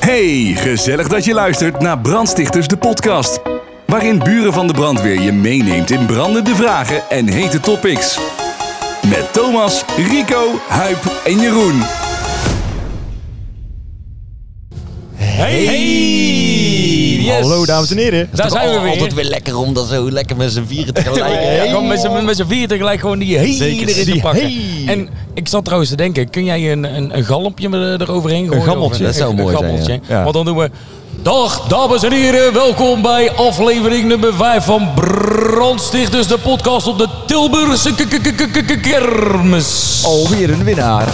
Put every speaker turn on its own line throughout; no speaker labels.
Hey, gezellig dat je luistert naar Brandstichters de podcast. Waarin buren van de brandweer je meeneemt in brandende vragen en hete topics. Met Thomas, Rico, Huip en Jeroen.
Hey! Yes.
Hallo dames en heren.
Daar zijn we weer.
Altijd weer lekker om dat zo lekker met z'n vieren tegelijk.
Ja, gewoon met z'n- met z'n vier tegelijk gewoon die hey
Zeker,
erin te
die
pakken.
hey.
En ik zat trouwens te denken, kun jij een, een, een galmpje er- eroverheen gooien?
gammeltje,
Of
dat zou
een- een
mooi zijn,
gammeltje.
ja. Ja.
Want dan doen we... Dag dames en heren, welkom bij aflevering nummer 5 van Brandstichters, de podcast op de Tilburgse k- k- k- k- kermis.
Alweer een winnaar.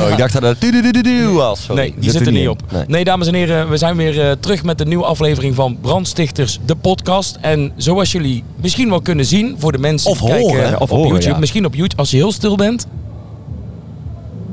Oh, ik dacht dat het tududududu was. Sorry.
Nee, die zit er niet op. Nee.
Nee.
dames en heren, we zijn weer eh, terug met een nieuwe aflevering van Brandstichters, de podcast. En zoals jullie misschien wel kunnen zien, voor de mensen
Of
die
horen,
kijken eh,
hè?
op
Of horen,
YouTube,
ja.
misschien op YouTube, als je heel stil bent,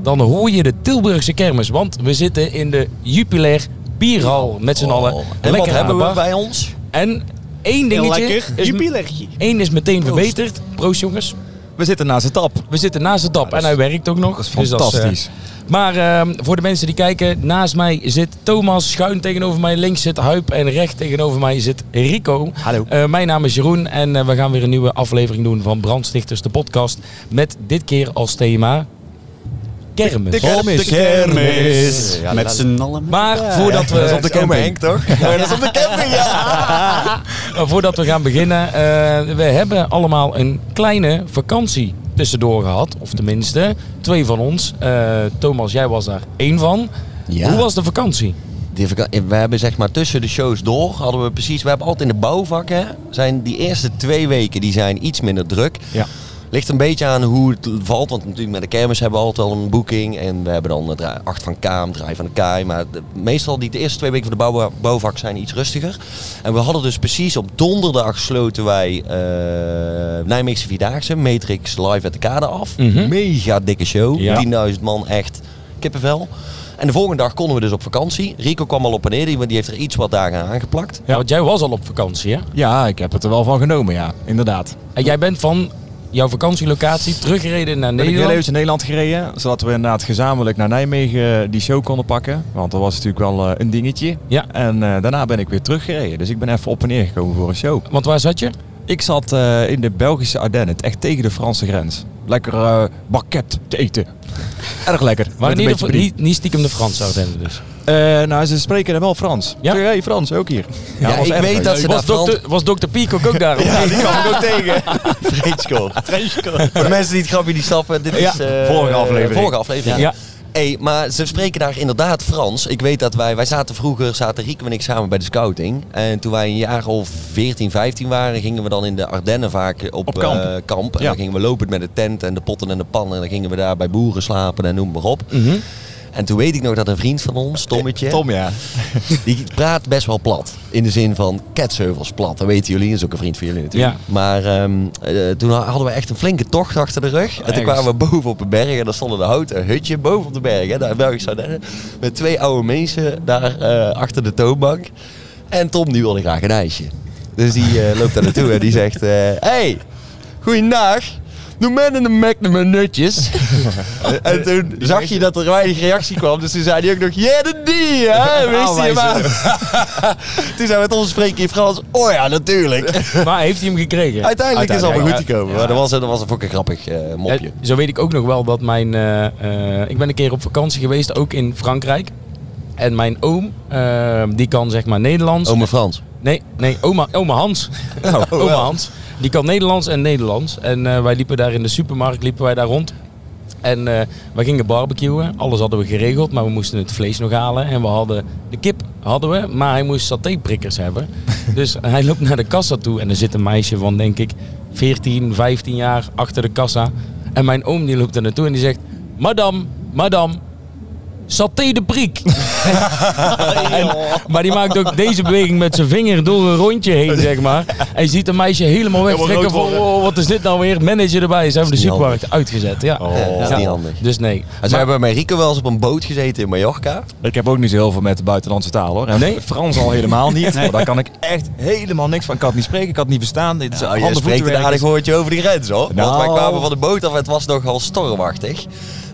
dan hoor je de Tilburgse kermis. Want we zitten in de Jupiler Bierhal met z'n allen.
Oh. En
Lekker
wat hebben
aan de
we
bar.
bij ons?
En één dingetje, is, één is meteen verbeterd. Proost jongens.
We zitten naast de tap.
We zitten naast de tap en hij werkt ook nog.
dat is
Dus eh,
fantastisch.
maar ehm, voor de mensen die kijken, naast mij zit Thomas, schuin tegenover mij, links zit Huip en recht tegenover mij zit Rico.
Hallo.
Eh, mijn naam is Jeroen en eh, we gaan weer een nieuwe aflevering doen van Brandstichters, de podcast. Met dit keer als thema kermis.
kermis.
De kermis.
Ja,
Met
dat-
z'n allen.
Maar voordat we,
Dat is op de camping.
eh,
Henk, toch? Ja, dat is op de camping, ja.
voordat we gaan beginnen, eh, we hebben allemaal een kleine vakantie tussendoor gehad. Of tenminste, twee van ons. Eh, Thomas, jij was daar één van.
Ja.
Hoe was de vakantie?
Die verka- We hebben zeg maar tussen de shows door, hadden we precies, we hebben altijd in de bouwvakken, zijn die eerste twee weken die zijn iets minder druk.
Ja.
Ligt een beetje aan hoe het valt, want natuurlijk met de kermis hebben we altijd wel een boeking. En we hebben dan eh, draai- acht van Kaam, draai van de Kaai. Maar de- meestal die de eerste twee weken van de bouw, bouwvak zijn iets rustiger. En we hadden dus precies op donderdag sloten wij eh Nijmeegse Vierdaagse, Matrix live at de kade af. Mega dikke show,
Ja.
10.000 man echt kippenvel. En de volgende dag konden we dus op vakantie. Rico kwam al op en neer, die, want die heeft er iets wat dagen aan aangeplakt.
Ja, want jij was al op vakantie, hè?
Ja, ik heb het er wel van genomen, ja. Inderdaad.
En jij bent van jouw vakantielocatie teruggereden naar
Ben ik heel
Nederland.
even in Nederland gereden, zodat we inderdaad gezamenlijk naar Nijmegen eh, die show konden pakken. Want dat was natuurlijk wel eh, een dingetje.
Ja.
En eh, daarna ben ik weer teruggereden. Dus ik ben even op en neer gekomen voor een show.
Want waar zat je?
Ik zat eh, in de Belgische Ardennen, het echt tegen de Franse grens. Lekker eh bakket te eten. Erg lekker.
Maar
Met
in
een
ieder
beetje
geval
brie.
niet, niet stiekem de Frans Ardennen dus.
Eh, nou, ze spreken er wel Frans.
Ja?
Ja? hey, Frans, ook hier.
Ja,
was
ik
erg
weet
leuk.
dat ze daar
Was,
Frans...
dokter, was Dr. Peacock ook daar?
Ja, die kwam ik ook tegen. Vreedschool. Voor de mensen die het grapje niet snappen, dit
Ja,
is... eh,
vorige aflevering.
Vorige aflevering,
Ja.
ja. Hey, maar ze spreken daar inderdaad Frans. Ik weet dat wij... Wij zaten vroeger, zaten Rico en ik samen bij de scouting. En toen wij een jaar of 14, 15 waren, gingen we dan in de Ardennen vaak op,
Op kamp.
eh, kamp. En
Ja.
dan gingen we lopend met de tent en de potten en de pannen. En dan gingen we daar bij boeren slapen en noem maar op. En toen weet ik nog dat een vriend van ons, Tommetje...
Tom, ja.
Die praat best wel plat. In de zin van ketzeuvels plat. Dat weten jullie. Dat is ook een vriend van jullie natuurlijk.
Ja.
Maar ehm, eh, toen hadden we echt een flinke tocht achter de rug. En toen
ergens.
kwamen we boven op een berg. En daar stond een houten hutje boven op de berg. Hè, daar in Belgisch Ardennen. Met twee oude mensen daar eh, achter de toonbank. En Tom die wilde graag een ijsje. Dus die eh, loopt daar naartoe en die zegt... eh, hey, goeiedag. Doe men in de Mac naar mijn nutjes. en toen zag je dat er weinig reactie kwam. Dus toen zei hij ook nog... Yeah, de die, hè? Wist hij
Aanwijzen.
hem aan. Toen zijn we met ons spreken in Frans. Oh ja, natuurlijk.
Maar heeft hij hem gekregen?
Uiteindelijk is het allemaal
Uiteindelijk,
goed gekomen. Maar dat was, dat was een fucking grappig eh, mopje.
Ja, zo weet ik ook nog wel dat mijn. eh, eh, ik ben een keer op vakantie geweest, ook in Frankrijk. En mijn oom, eh, die kan zeg maar
Eh,
Nederlands.
Ome Frans.
Nee, nee, oma, oma Hans. oma Hans. Die kan Nederlands en Nederlands. En eh, wij liepen daar in de supermarkt, liepen wij daar rond. En eh wij gingen barbecuen. Alles hadden we geregeld, maar we moesten het vlees nog halen. En we hadden de kip, hadden we, maar hij moest satéprikkers hebben. dus hij loopt naar de kassa toe en er zit een meisje van, denk ik, 14, 15 jaar achter de kassa. En mijn oom die loopt er naartoe en die zegt, madame, madame, saté de prik. Maar die maakt ook deze beweging met zijn vinger door een rondje heen, zeg maar. En je ziet een meisje helemaal wegtrekken van, oh, wat is dit nou weer? Manager erbij, zijn we de
niet
supermarkt uitgezet. Ja.
Ja, Oh, dat is
Ja.
niet handig.
Dus nee.
En zo
Maar-
hebben we met Rico wel eens op een boot gezeten in Mallorca.
Ik heb ook niet zo heel veel met de buitenlandse taal hoor. En
Nee?
Frans al helemaal niet. Maar Daar kan ik echt helemaal niks van. Ik kan het niet spreken, ik kan het niet verstaan. Dit is oh,
Nou, je
handen,
spreekt een
voeten,
aardig woordje over die grens hoor. Want
Nou.
wij kwamen van de boot af en het was nogal stormachtig.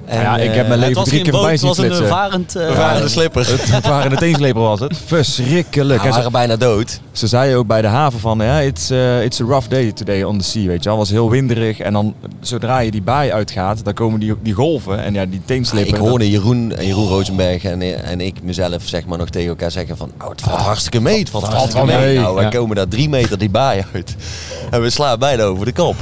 En,
ja, ik heb
eh,
mijn
het
leven
was
drie
geen
keer
boot,
voorbij zien
het was een
flitsen.
eh, varend... eh,
We waren de slippers.
Het waren het eensleper was het. Verschrikkelijk.
We
En ze,
waren bijna dood.
ze zei ook bij de haven van, ja, it's, eh, it's a rough day today on the sea, weet je wel. Het was heel winderig en dan, zodra je die baai uitgaat, dan komen die, die golven en ja, die teenslippen.
ik hoorde Jeroen, Jeroen Rozenberg en, en ik mezelf zeg maar nog tegen elkaar zeggen van... Oh, het valt hartstikke mee, het valt hartstikke
wel
mee.
Ah, mee.
Nou, wij
Ja.
komen daar drie meter die baai uit. En we slaan bijna over de kop.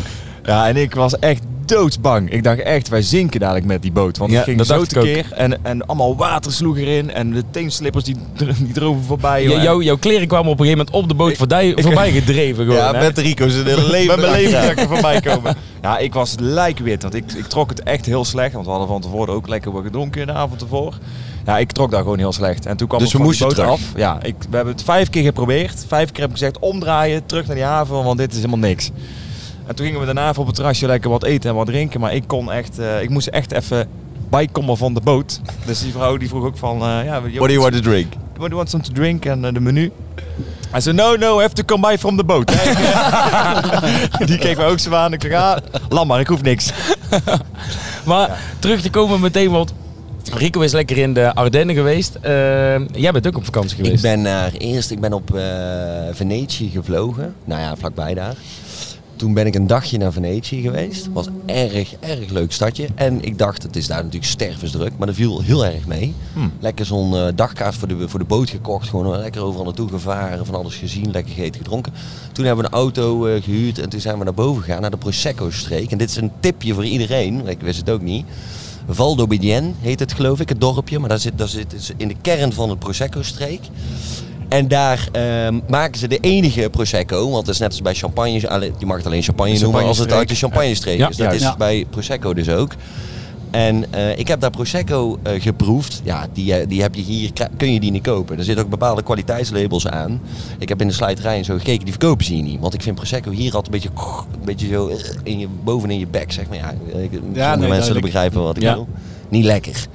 Ja, en ik was echt doodsbang. Ik dacht echt, wij zinken dadelijk met die boot. Want
Ja,
het ging
dat
zo
dacht ik ook.
tekeer. En, en allemaal water sloeg erin. En de teenslippers die, die droven voorbij.
Ja,
joh.
jouw- jouw kleren kwamen op een gegeven moment op de boot voorbij, voorbij gedreven gewoon.
ja,
hè?
met Rico zijn hele leven.
Met mijn
erachteraan.
leven dat ik er voorbij komen. Ja, ik was lijkwit. Want ik, ik trok het echt heel slecht. Want we hadden van tevoren ook lekker wat gedronken de avond ervoor. Ja, ik trok daar gewoon heel slecht. En toen kwam
Dus
ik
we
van die
moesten
boot
terug.
af. Ja, ik, we hebben het vijf keer geprobeerd. Vijf keer heb ik gezegd omdraaien, terug naar die haven. Want dit is helemaal niks. En toen gingen we daarna even op het terrasje lekker wat eten en wat drinken. Maar ik kon echt, eh, ik moest echt even bijkomen van de boot. Dus die vrouw die vroeg ook van, eh, ja,
What do you want to drink?
What do you want some to drink? En eh, de menu. Hij zei, no, no, I have to come by from the boat. die keek me ook zo aan. Ik dacht, ah, lam maar, ik hoef niks.
Maar terug te komen meteen, want Rico is lekker in de Ardennen geweest. Eh, jij bent ook op vakantie geweest.
Ik ben naar eerst ik ben op eh, Venetië gevlogen. Nou ja, vlakbij daar. Toen ben ik een dagje naar Venetië geweest. Was erg, erg leuk stadje. En ik dacht, het is daar natuurlijk stervensdruk, maar dat viel heel erg mee. Lekker zo'n eh, dagkaart voor de, voor de boot gekocht. Gewoon eh, lekker overal naartoe gevaren, van alles gezien, lekker gegeten, gedronken. Toen hebben we een auto eh, gehuurd en toen zijn we naar boven gegaan, naar de Prosecco-streek. En dit is een tipje voor iedereen, want ik wist het ook niet. Val d'Aubignan heet het geloof ik, het dorpje. Maar daar zit, daar zit is in de kern van de Prosecco-streek. En daar ehm, maken ze de enige Prosecco. Want dat is net als bij champagne. alleen- Je mag het alleen champagne, noemen als het
Champagne-streek.
uit de champagne-streek
Ja,
is. Dat
juist.
is
Ja.
bij Prosecco dus ook. En eh, ik heb daar Prosecco eh, geproefd. Ja, die, eh, die heb je hier, kra- kun je die niet kopen. Er zitten ook bepaalde kwaliteitslabels aan. Ik heb in de slijterij en zo gekeken, die verkopen ze hier niet. Want ik vind Prosecco hier altijd een beetje, een beetje zo eh, in je, bovenin je bek, zeg maar. Ja, ik, ja,
nee,
mensen zullen
duidelijk.
begrijpen wat ik
Ja.
wil. Niet lekker.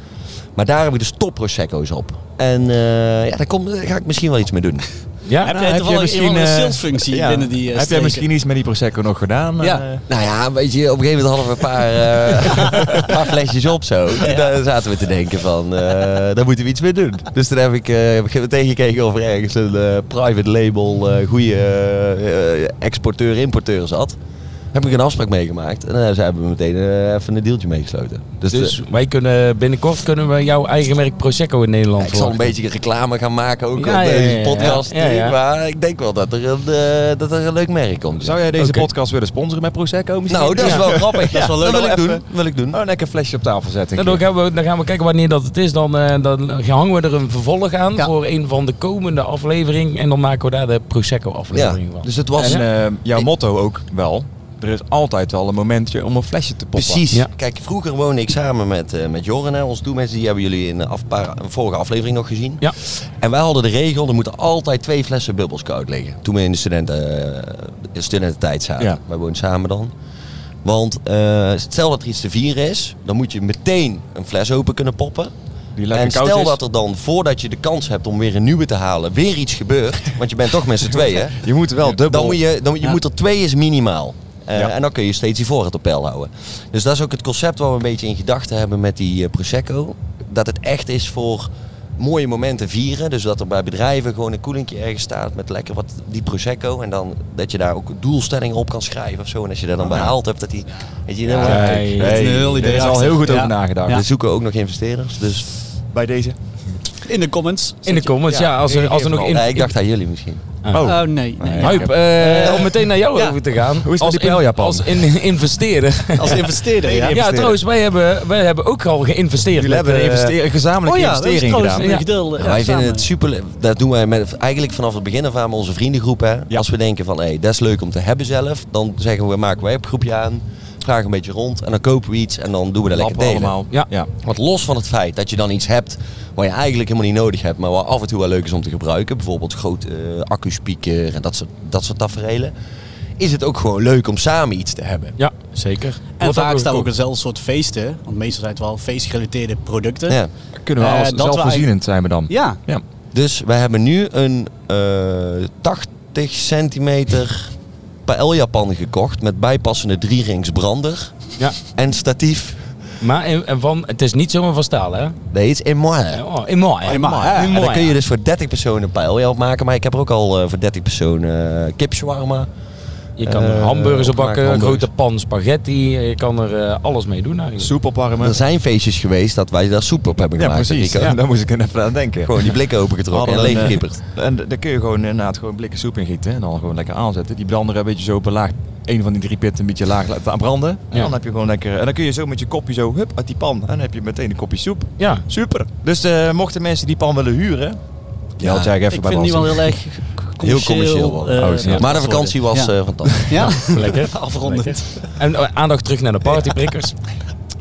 Maar daar heb ik dus top Prosecco's op. En eh, ja, daar, kom, daar ga ik misschien wel iets mee doen.
Ja?
Heb jij toevallig een
eh,
salesfunctie
ja,
binnen die eh,
Heb jij
streken?
misschien iets met die Prosecco nog gedaan?
Ja.
Eh,
Nou ja, weet je, op een gegeven moment hadden we een paar, eh, een paar flesjes op zo. Toen Daar zaten we te denken van, eh, daar moeten we iets mee doen. Dus toen heb ik, eh, heb ik tegengekeken of er ergens een eh, private label eh goede eh, exporteur, importeur zat. Daar heb ik een afspraak meegemaakt. En daar hebben we meteen eh, even een deeltje meegesloten. Dus,
Dus
de-
wij kunnen binnenkort kunnen we jouw eigen merk Prosecco in Nederland
ik zal een
verwachten.
beetje reclame gaan maken ook
Ja,
op
ja, ja,
deze
ja.
podcast.
Ja, ja.
Maar ik denk wel dat er een, eh, dat er een leuk merk komt.
Zou jij deze
Oké.
podcast willen sponsoren met Prosecco misschien?
Nou, dat is wel grappig.
Ja,
dat
Nou, dat
wil
wil
ik
even.
doen. wil ik doen.
Oh, lekker een flesje op tafel zetten. een
Nou, dan,
keer.
gaan we, dan gaan we kijken wanneer dat het is. Dan, eh, dan hangen we er een vervolg aan
Ja.
voor een van de komende afleveringen. En dan maken we daar de Prosecco
Ja,
aflevering van.
dus het was
En
eh,
eh, jouw motto ook wel. Er is altijd wel een momentje om een flesje te poppen.
precies.
Ja.
Kijk, vroeger woonde ik samen met, eh met Joren, hè, onze doelmensen. Die hebben jullie in de af, paar- een vorige aflevering nog gezien.
Ja.
En wij hadden de regel, er moeten altijd twee flessen bubbels koud liggen. Toen we in de studenten, eh, studententijd zaten.
Ja.
Wij woonden samen dan. Want eh, stel dat er iets te vieren is, dan moet je meteen een fles open kunnen poppen.
Die lekker
en
koud
stel
is.
dat er dan, voordat je de kans hebt om weer een nieuwe te halen, weer iets gebeurt. Want je bent toch met z'n tweeën.
Je moet wel dubbel.
Dan moet je, dan, moet- je
Ja.
moet er twee is minimaal. Eh,
Ja.
En dan kun je steeds die voorraad op peil houden. Dus dat is ook het concept waar we een beetje in gedachten hebben met die eh, Prosecco. Dat het echt is voor mooie momenten vieren. Dus dat er bij bedrijven gewoon een koelinkje ergens staat met lekker wat die Prosecco. En dan dat je daar ook doelstellingen op kan schrijven of zo. En als je dat dan behaald hebt, dat die... Weet je, dan
Ja,
Kijk,
ja,
dat-
Hey,
Een heel idee
Er is al
achter.
heel goed
Ja.
over nagedacht.
Ja.
We zoeken ook nog investeerders. Dus
Bij deze.
In de comments.
in de comments, ja. als er, als er nog in,
Nee, ik dacht aan jullie misschien.
Oh.
Oh, nee. nee.
Huip, eh, om meteen naar jou
Ja.
over te gaan.
het met
als
die pijl, Japan?
Als in, investeerder.
Als investeerder, ja.
Ja, trouwens, wij hebben, wij hebben ook al geïnvesteerd.
Jullie hebben
met,
een,
eh,
investering, een gezamenlijke
Oh ja, dat is
investering
trouwens
gedaan.
een
Ja.
gedeelde.
Ja, wij vinden het super. le- Dat doen wij met, eigenlijk vanaf het begin af aan met onze vriendengroep. Hè.
Ja.
Als we denken van, hey, dat is leuk om te hebben zelf, dan zeggen we, maken wij een groepje aan, vragen een beetje rond en dan kopen we iets en dan doen we dat lekker
Lappen
delen.
allemaal.
Ja.
ja.
Want los van het feit dat je dan iets hebt waar je eigenlijk helemaal niet nodig hebt, maar wat af en toe wel leuk is om te gebruiken, bijvoorbeeld groot eh accu-speaker en dat soort, dat soort tafereelen, is het ook gewoon leuk om samen iets te hebben.
Ja, zeker.
En
Wordt
vaak staan ook
gekocht.
eenzelfde soort feesten. Want meestal zijn het wel feestgerelateerde producten.
Ja.
Kunnen we
Eh,
alles
dat we
zelfvoorzienend zijn we dan?
Ja.
Ja.
Dus wij hebben nu een eh 80 centimeter paeljapan gekocht met bijpassende drierings brander
Ja.
en statief.
Maar in- en van, het is niet zomaar van staal, hè?
Nee, het is in Moir.
Oh, in mooi.
In Mooi, ja.
In
En
mooi.
dan kun je dus voor 30 personen een pijl op maken. Maar ik heb er ook al eh, voor 30 personen eh, kip shawarma.
Je kan
Eh,
er hamburgers op bakken,
opgemaakte
grote pan spaghetti. Je kan er eh, alles mee doen eigenlijk.
Soep opwarmen.
Er zijn feestjes geweest dat wij daar soep op hebben
ja,
gemaakt.
precies.
Rico.
Ja, daar moest ik even aan denken.
Gewoon die blikken opengetrokken en
Hadden een, eh,
leegkipperd.
En d- daar kun je gewoon inderdaad gewoon blikken soep in gieten. En dan gewoon lekker aanzetten. Die brander een beetje zo op een laag. Een van die drie pitten een beetje laag laten aanbranden. En
Ja.
dan heb je gewoon lekker. En dan kun je zo met je kopje zo hup uit die pan. En dan heb je meteen een kopje soep.
Ja,
Super. Dus eh, mochten mensen die pan willen huren. Ja, dat zeg ik even
ik
bij
vind die wel
Bas.
heel erg
Heel
commercieel.
commercieel. wel.
eh,
Oh, snap.
ja.
maar de vakantie was
Ja.
eh, fantastisch.
Ja?
lekker.
Afrondend.
En eh, aandacht terug naar de partyprikkers.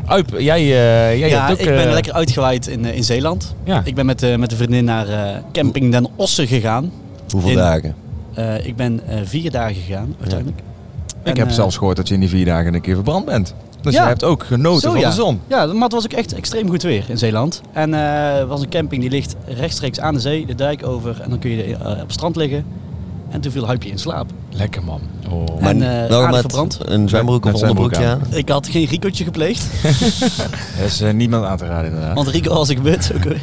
Uip, jij, eh, jij
Ja,
hebt ook...
ik ben
eh,
lekker uitgewaaid in, eh, in Zeeland.
Ja.
Ik ben met, eh, met een vriendin naar eh, Camping Den Ossen gegaan.
Hoeveel
In-
dagen?
Eh, ik ben eh, vier dagen gegaan uiteindelijk.
Ik
En,
heb
eh,
zelfs gehoord dat je in die vier dagen een keer verbrand bent. Dus
Ja.
je hebt ook
Oh,
genoten
zo,
van
ja.
de zon.
Ja, maar het was ook echt extreem goed weer in Zeeland. En eh, het was een camping die ligt rechtstreeks aan de zee, de dijk over. En dan kun je eh, op het strand liggen. En toen viel Huipje in slaap.
Lekker man. Oh.
En, eh,
wel
aardig
met
verbrand.
een zwembroek
Met
of onderbroekje aan.
zwembroek
Ik had geen Rico'tje gepleegd,
Dat is eh, niemand aan te raden inderdaad.
want Rico was ik gebeurd ook weer.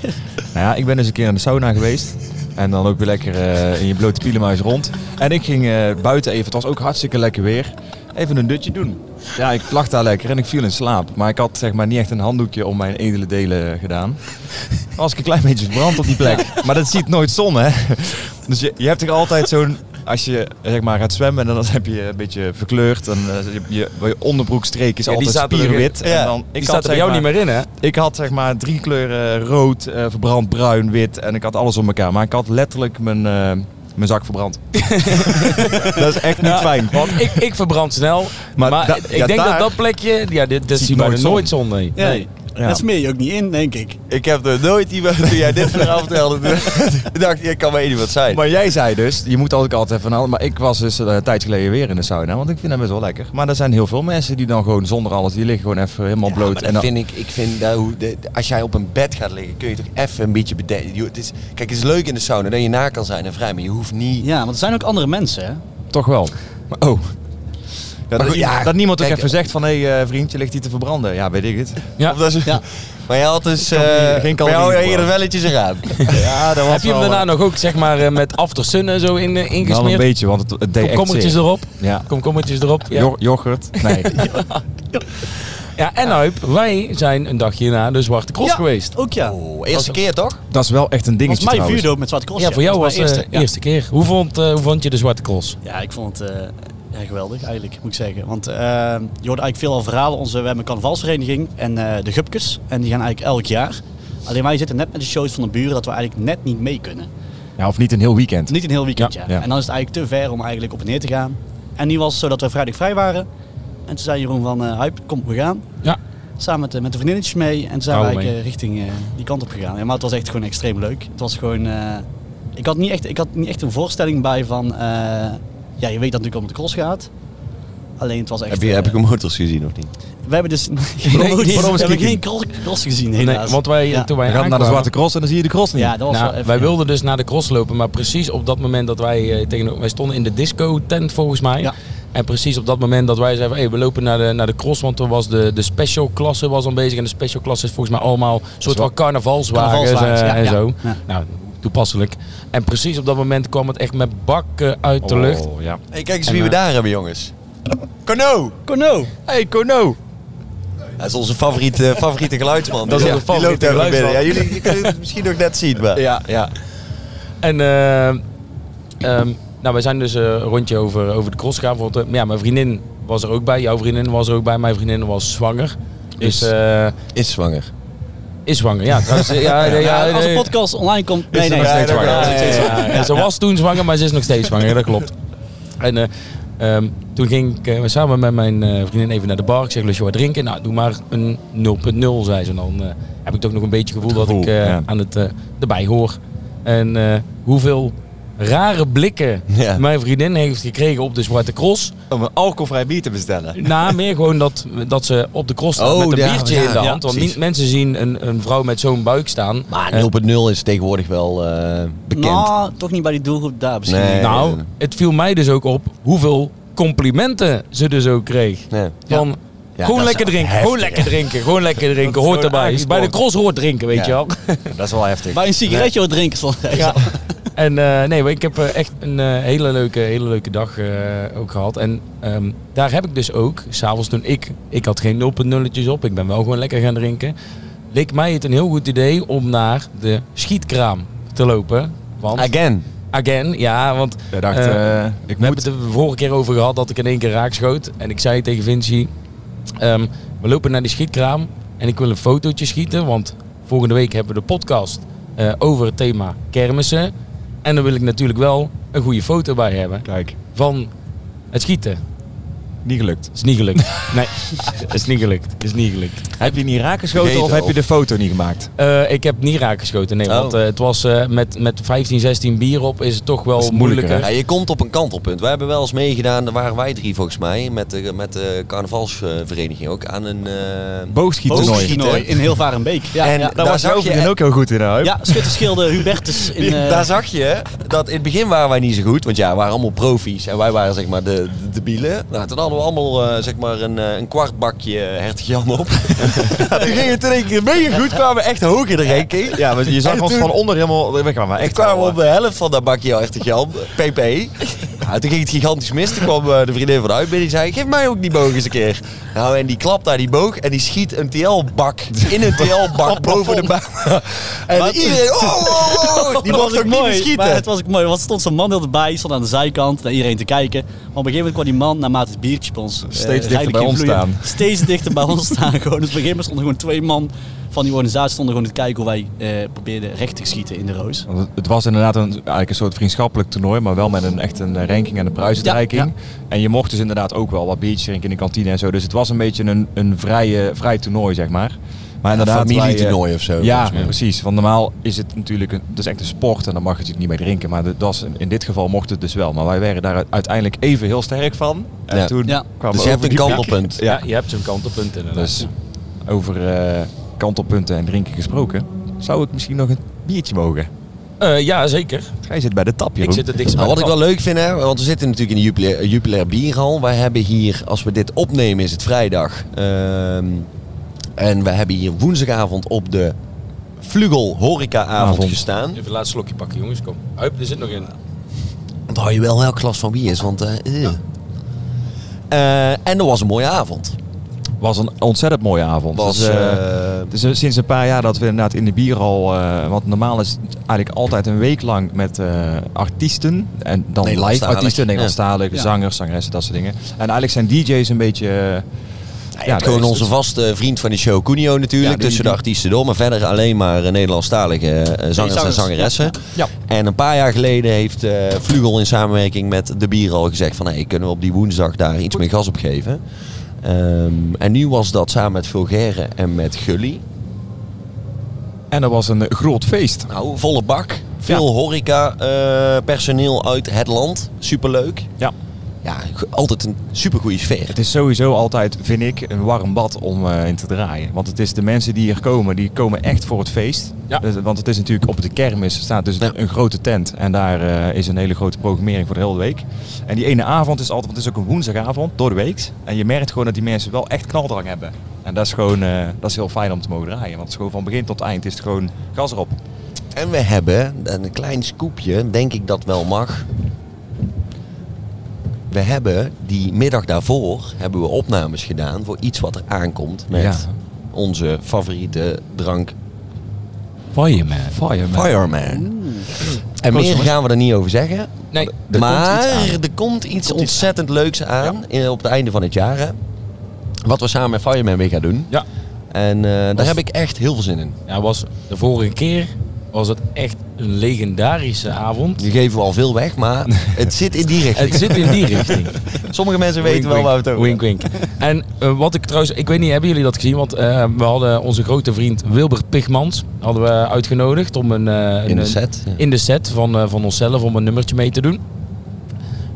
Nou ja, ik ben dus een keer aan de sauna geweest. En dan loop je lekker eh, in je blote pielenmuis rond. En ik ging eh, buiten even, het was ook hartstikke lekker weer, even een dutje doen. Ja, ik lag daar lekker en ik viel in slaap. Maar ik had zeg maar niet echt een handdoekje om mijn edele delen gedaan. Dan Was ik een klein beetje verbrand op die plek. Maar dat ziet nooit zon, hè. Dus je, je hebt er altijd zo'n... Als je zeg maar, gaat zwemmen en dan heb je een beetje verkleurd. En eh, je, je, je onderbroekstreek is
Ja, die
altijd
zaten er-
spierwit.
ja,
en dan,
Die
had,
staat er bij
zeg
jou niet
maar-
meer in, hè?
ik had zeg maar drie kleuren rood, eh, verbrand, bruin, wit en ik had alles op elkaar. Maar ik had letterlijk mijn, eh, mijn zak verbrand. dat is echt niet fijn.
Want ik, ik verbrand snel. Maar,
Maar da-
ik
ja,
denk dat
daar-
dat plekje... Ja, dit, dit
Ziet
zie je bijna
nooit zon.
nooit zon, nee.
Nee, dat smeer je ook niet in, denk ik.
Ik heb er nooit iemand, toen jij dit verhaal vertelde, toen dacht ik, ik kan maar één iemand zijn.
Maar jij zei dus, je moet ook altijd van alles. Maar ik was dus eh, een tijd geleden weer in de sauna, want ik vind dat best wel lekker. Maar er zijn heel veel mensen die dan gewoon zonder alles, die liggen gewoon even helemaal
Ja, maar
bloot.
dat
En dan,
vind ik, ik vind dat hoe, de- als jij op een bed gaat liggen, kun je toch even een beetje bedenken. Jo, Het is, kijk, het is leuk in de sauna dat je na kan zijn en vrij, maar je hoeft niet.
Ja, want er zijn ook andere mensen, hè.
toch wel. Maar- oh. Ja, dat,
goed, ja,
dat niemand ook
kijk,
even zegt van, hé eh, vriendje, vriend, je ligt hier te verbranden. Ja, weet ik het.
Ja.
Of dat is,
Ja.
Maar jij had dus.
kan
eh,
niet- geen
bij jou
calorieën
eerder
voor.
welletjes eraan.
Ja, dat was
Heb je hem
wel,
daarna
eh,
nog ook, zeg maar, eh, met aftersun en zo in, eh,
wel een
ingesmeerd?
beetje, want het, het deed echt
Komkommertjes
zeer.
erop.
Ja.
Komkommertjes erop. Ja.
Jo- yoghurt. Nee.
Ja, en Huip, wij zijn een dagje na de Zwarte Cross
Ja,
geweest.
Ook ja.
Oh, eerste keer toch?
Dat is wel echt een
was
dingetje
mijn
trouwens.
vuurdoop met Zwarte Cross.
Ja, voor jou was
mijn
het
ja.
eerste keer. Hoe vond, eh, hoe vond je de Zwarte Cross?
Ja, ik vond het eh, ja, geweldig eigenlijk, moet ik zeggen. Want eh, je hoort eigenlijk veel al verhalen. Onze, we hebben een carnavalsvereniging en eh, de Gupkes. En die gaan eigenlijk elk jaar. Alleen wij zitten net met de shows van de buren dat we eigenlijk net niet mee kunnen.
Ja, of niet een heel weekend.
Niet een heel weekend, ja.
Ja, ja.
En dan is het eigenlijk te ver om eigenlijk op en neer te gaan. En nu was het zo dat we vrijdag vrij waren. En toen zei Jeroen van, eh Huip, kom we gaan.
Ja.
Samen met, de- met de vriendinnetjes mee. En toen zijn we
Oude
eigenlijk eh, richting eh, die kant op gegaan. Ja, maar het was echt gewoon extreem leuk. Het was gewoon... eh, ik, had niet echt, ik had niet echt een voorstelling bij van... eh, ja, je weet dat het natuurlijk om de cross gaat. Alleen het was echt...
Heb je,
eh,
heb ik hem motors gezien of niet?
we hebben dus geen,
Waarom
we
is het
hebben
kieken?
geen cross, cross gezien, helaas.
Nee, want wij,
Ja.
toen wij
Je gaat naar de
aankwamen-
Zwarte Cross en dan zie je de cross niet.
Ja, dat was
Nou,
wel even-
wij wilden dus naar de cross lopen, maar precies op dat moment dat wij eh, tegen, wij stonden in de disco tent volgens mij.
Ja.
En precies op dat moment dat wij zeiden, hey, we lopen naar de, naar de cross, want er was de, de special klasse was dan bezig. En de special klasse is volgens mij allemaal soort van carnavalswagens
Carnavalswagens,
eh,
ja,
en
ja.
zo.
Ja.
Nou, toepasselijk. En precies op dat moment kwam het echt met bakken uit de lucht.
Oh, ja.
Hey, kijk eens
En,
wie we
eh,
daar hebben, jongens. Kono!
Corno!
Hey, Kono!
Dat is onze favoriete, favoriete geluidsman.
Dat is
Ja,
onze
die loopt
favoriete
daar van binnen. Ja,
geluidsman.
jullie je kunnen het misschien nog net zien, maar...
Ja, ja.
En eh, ehm, nou, wij zijn dus eh, een rondje over, over de cross gegaan. Bijvoorbeeld, eh, ja, mijn vriendin was er ook bij, jouw vriendin was er ook bij, mijn vriendin was zwanger. Dus
Is-
eh,
Is zwanger.
is zwanger, ja. Trouwens, ja, ja, ja,
Ja, als de
nee.
podcast online komt... Nee,
er
nee,
nog
nee,
steeds
nee,
waar?
nee,
Ja,
nee,
ja,
nee.
ja, ja. Ze was toen zwanger, maar ze is nog steeds zwanger, dat klopt. En eh, ehm, toen ging ik eh, samen met mijn eh, vriendin even naar de bar. Ik zeg, lust je wat drinken? Nou, doe maar een 0.0, zei ze. En dan eh, heb ik toch nog een beetje gevoel,
gevoel,
dat ik eh,
ja.
aan het eh, erbij hoor. En eh, hoeveel rare blikken
Ja.
mijn vriendin heeft gekregen op de Zwarte Cross.
Om een alcoholvrij bier te bestellen.
Na meer gewoon dat, dat ze op de cross staat
Oh,
met een
ja,
biertje
ja,
in de
ja,
hand. want
precies.
niet- mensen zien een, een vrouw met zo'n buik staan.
Maar
En-
0.0 is tegenwoordig wel eh, bekend.
Nou, toch niet bij die doelgroep daar misschien.
Nee.
Nou, het viel mij dus ook op hoeveel complimenten ze dus ook kreeg.
Nee.
Van, gewoon
dat is
lekker drinken.
heftig,
Gewoon lekker drinken. Gewoon lekker drinken.
is
Hoort
gewoon
erbij. Is Bij de
aangeboren.
cross hoort drinken, weet
Ja.
je wel.
Dat is wel heftig.
Bij een sigaretje wat drinken van
Ja. En eh, nee, maar ik heb eh, echt een eh, hele, leuke, hele leuke dag eh, ook gehad. En ehm, daar heb ik dus ook, s'avonds toen ik, ik had geen 0.0'tjes op, ik ben wel gewoon lekker gaan drinken. Leek mij het een heel goed idee om naar de schietkraam te lopen. Want,
Again.
again, ja, want
Hij dacht,
Eh,
eh, ik
we
moet...
hebben het er vorige keer over gehad dat ik in één keer raak schoot. En ik zei tegen Vinci, ehm, we lopen naar die schietkraam en ik wil een fotootje schieten. Want volgende week hebben we de podcast eh, over het thema kermissen. En dan wil ik natuurlijk wel een goede foto bij hebben
Kijk,
van het schieten.
niet gelukt.
Is niet gelukt. Nee, is niet gelukt. Is niet gelukt.
Heb je niet raakgeschoten
Vergeten
of heb
of-
je de foto niet gemaakt?
Eh, ik heb niet raak geschoten. Nee,
Oh.
want eh, het was eh, met, met 15, 16 bier op is het toch wel
Dat is moeilijker,
moeilijker.
Ja, je komt op een kantelpunt. Wij hebben wel eens meegedaan, daar waren wij drie volgens mij, met de, met de carnavalsvereniging ook, aan een... eh,
Boogschieternooi.
Boogschiet-
Boogtoernooi in heel Varenbeek. Ja,
En
ja.
daar was zag je-
Jovigen ook heel goed in, hè?
ja schutterschilde Hubertus in... eh,
Daar zag je dat in het begin waren wij niet zo goed, want ja, we waren allemaal profi's en wij waren zeg maar de, de debielen. Nou, toen hadden we allemaal eh, zeg maar een, eh, een kwart bakje hertog Jan op. toen ging het in één keer mega goed, kwamen we echt hoog in de ranking.
Ja, maar je zag
En
ons
toen-
van onder helemaal... We kwamen
Echt
echt
kwamen we
wel, eh,
op de helft van dat bakje hertog Jan, PP. Nou, toen ging het gigantisch mis. Toen kwam eh, de vriendin van de uitbinding en zei, geef mij ook die boog eens een keer. Nou, en die klapt daar die boog en die schiet een TL-bak in een TL-bak boven de baan. En
Maar-
iedereen, oh, oh, oh, die
Dat
mocht
was
ook niet meer
mooi,
schieten.
Maar het was ook mooi, want er stond zo'n man heel erbij, stond aan de zijkant naar iedereen te kijken. Maar op een gegeven moment kwam die man, naarmate het biertje bij ons eh,
Steeds dichter
redelijk
bij
ging
ons
vloeien,
staan.
Steeds dichter bij ons staan. Gewoon. Dus op een gegeven moment stonden gewoon twee man van die organisatie stonden gewoon te kijken hoe wij eh, probeerden recht te schieten in de roos.
Want het- Het was inderdaad een, eigenlijk een soort vriendschappelijk toernooi, maar wel met een, echt een eh, ranking en een prijsuitreiking.
Ja,
En je mocht dus inderdaad ook wel wat biertjes drinken in de kantine en zo. Dus het was een beetje een, een vrije, vrij toernooi, zeg maar. Maar
Een
inderdaad, wij,
familietoernooi of zo.
eh, Ja,
volgens mij.
precies. Want normaal is het natuurlijk een, het is echt een sport en dan mag je natuurlijk niet meer drinken. Maar dat was, in dit geval mocht het dus wel. Maar wij werden daar uiteindelijk even heel sterk van. En
Ja.
toen
Ja.
kwamen
Dus
we
je hebt
over
een
die plek.
kantelpunt.
Ja.
Ja,
je hebt zo'n kantelpunt inderdaad.
dus over eh, kantelpunten en drinken gesproken, zou ik misschien nog een biertje mogen?
Eh, ja, zeker.
Jij zit bij de tap,
Ik
Jeroen.
zit er dichtst bij
Nou,
de
wat ik wel leuk vind, hè, want we zitten natuurlijk in de Jupiler, Jupiler Bierhal. Wij hebben hier, als we dit opnemen, is het vrijdag. Ehm, en we hebben hier woensdagavond op de Vlugel Horecaavond
Avond.
gestaan.
Even laat slokje pakken, jongens. Kom. Huip, er zit nog in.
Want hou je wel welk glas van bier is, want... eh, eh. Eh, en dat was een mooie avond.
was een ontzettend mooie avond.
Was,
Dus, eh,
eh,
het is sinds een paar jaar dat we inderdaad in de bierhal, eh want normaal is het eigenlijk altijd een week lang met eh, artiesten en dan
Nederlandstalig.
live artiesten, Nederlandstalige
Ja.
zangers, zangeressen, dat soort dingen. En eigenlijk zijn DJ's een beetje, eh, ja, dus-
gewoon
dat is-
onze vaste vriend van de show, Cunio natuurlijk.
Ja, die-
tussen de
die-
artiesten door, maar verder alleen maar eh, Nederlandstalige eh, zangers en
zangers.
zangeressen.
Ja.
En een paar jaar geleden heeft eh, Vlugel in samenwerking met de bier al gezegd van... Hey, kunnen we op die woensdag daar iets meer gas op geven? Ehm, en nu was dat samen met Vulgaire en met Gully.
En dat was een groot feest.
Nou, volle bak. Veel horeca, eh, personeel uit het land. Superleuk.
Ja.
Ja, g- altijd een supergoeie sfeer.
Het is sowieso altijd, vind ik, een warm bad om eh, in te draaien. Want het is de mensen die hier komen, die komen echt voor het feest.
Ja.
Dus- want het is natuurlijk op de kermis staat dus
Ja.
een grote tent. En daar eh, is een hele grote programmering voor de hele week. En die ene avond is altijd, want het is ook een woensdagavond, door de week. En je merkt gewoon dat die mensen wel echt knaldrang hebben. En dat is gewoon, eh, dat is heel fijn om te mogen draaien. Want het is gewoon van begin tot eind is het gewoon gas erop.
En we hebben een klein scoopje, denk ik dat wel mag. We hebben die middag daarvoor hebben we opnames gedaan voor iets wat er aankomt met
Ja.
onze favoriete drank
Fireman.
Fireman.
Fireman. En meer
jongens.
gaan we er niet over zeggen.
Nee,
maar
komt iets aan.
er komt iets ontzettend leuks aan eh, op het einde van het jaar. hè. Wat we samen met Fireman weer gaan doen.
Ja.
En eh, daar heb ik echt heel veel zin in.
ja, was de vorige keer was het echt een legendarische avond.
Die geven we al veel weg, maar het zit in die richting.
Het zit in die richting.
Sommige mensen weten wel
wink,
waar we het over
Wink, wink. En eh, wat ik trouwens, ik weet niet, hebben jullie dat gezien? Want eh, we hadden onze grote vriend Wilbert Pigmans hadden we uitgenodigd om een, eh,
In de
een-
set, ja.
in de set van, eh, van onszelf om een nummertje mee te doen.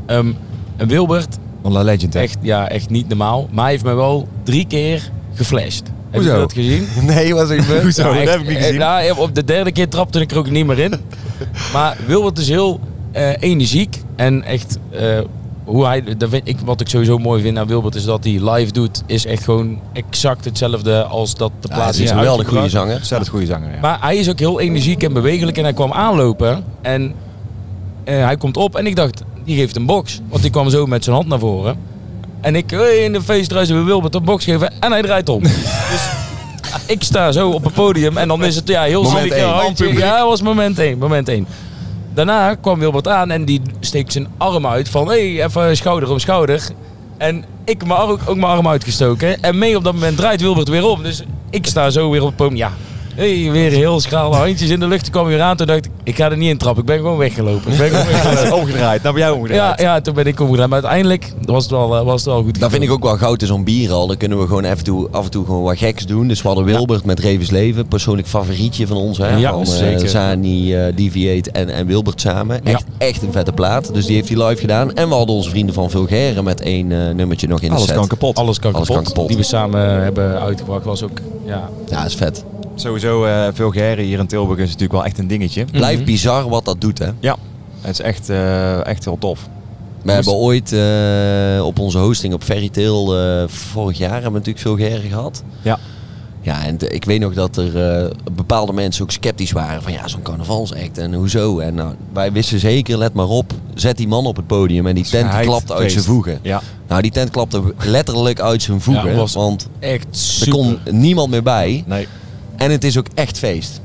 Ehm, en Wilbert
Van La Legend, hè?
echt, ja, echt niet normaal. Maar hij heeft me wel drie keer geflasht. Heb je
Hoezo?
dat gezien?
Nee, was ik Hoezo?
Ja, echt.
dat heb ik niet gezien.
Eh, nou, op de derde keer trapte ik er ook niet meer in. maar Wilbert is heel eh, energiek en echt eh, hoe hij, dat vind ik, wat ik sowieso mooi vind aan Wilbert is dat hij live doet, is echt gewoon exact hetzelfde als dat de
Ja, het
plaats
is
is
een geweldig
uitgebracht.
goede zanger.
Ontzettend goede zanger, ja.
Maar hij is ook heel energiek en bewegelijk en hij kwam aanlopen en eh, hij komt op en ik dacht, die geeft een box. Want die kwam zo met zijn hand naar voren. En ik, hey, in de feestruis hebben we Wilbert een box geven en hij draait om. dus ik sta zo op het podium en dan is het ja, heel
Moment
zielig.
één.
Ja, handje. Ja, dat was moment één, moment één. Daarna kwam Wilbert aan en die steekt zijn arm uit van hey, even schouder om schouder. En ik mijn arm, ook mijn arm uitgestoken. En mee op dat moment draait Wilbert weer om. Dus ik sta zo weer op het podium. Ja, hey, weer heel schraal. Handjes in de lucht. Ik kwam weer aan. Toen dacht ik, ik ga er niet in trappen. Ik ben gewoon weggelopen. Ik ben gewoon weggelopen.
omgedraaid, nou ben jij
Ja,
omgedraaid.
ja, toen ben ik omgedaan. Maar uiteindelijk was het wel, eh, was het wel goed.
Dat vind ik ook wel goud in zo'n bier al. Dan kunnen we gewoon af en toe, af en toe gewoon wat geks doen. Dus we hadden Wilbert met Revens Leven, persoonlijk favorietje van ons. Hè?
Ja,
van, eh,
zeker.
Zani, eh, Deviate en, en Wilbert samen.
Ja.
Echt, echt een vette plaat. Dus die heeft hij live gedaan. En we hadden onze vrienden van Vulgaire met één eh, nummertje nog in de
Alles
set.
kan kapot.
Alles kan,
Alles kan
kapot,
kapot.
Die we samen hebben uitgebracht. Was ook, ja,
Ja, is vet.
Sowieso, eh Vulgaire hier in Tilburg is natuurlijk wel echt een dingetje.
Blijft bizar wat dat doet, hè?
Ja. Het is echt, eh, echt heel tof.
We hebben ooit eh, op onze hosting op Fairytale eh vorig jaar hebben we natuurlijk Vulgaire gehad.
Ja.
Ja, en t- ik weet nog dat er eh, bepaalde mensen ook sceptisch waren van ja, zo'n carnavalsact en hoezo. En nou, wij wisten zeker, let maar op, zet die man op het podium en die tent
Geheid
klapt uit
feest.
zijn voegen.
Ja.
Nou, die tent klapte letterlijk uit zijn voegen,
Ja, was
want
echt
er
super.
kon niemand meer bij.
Nee.
En het is ook echt feest.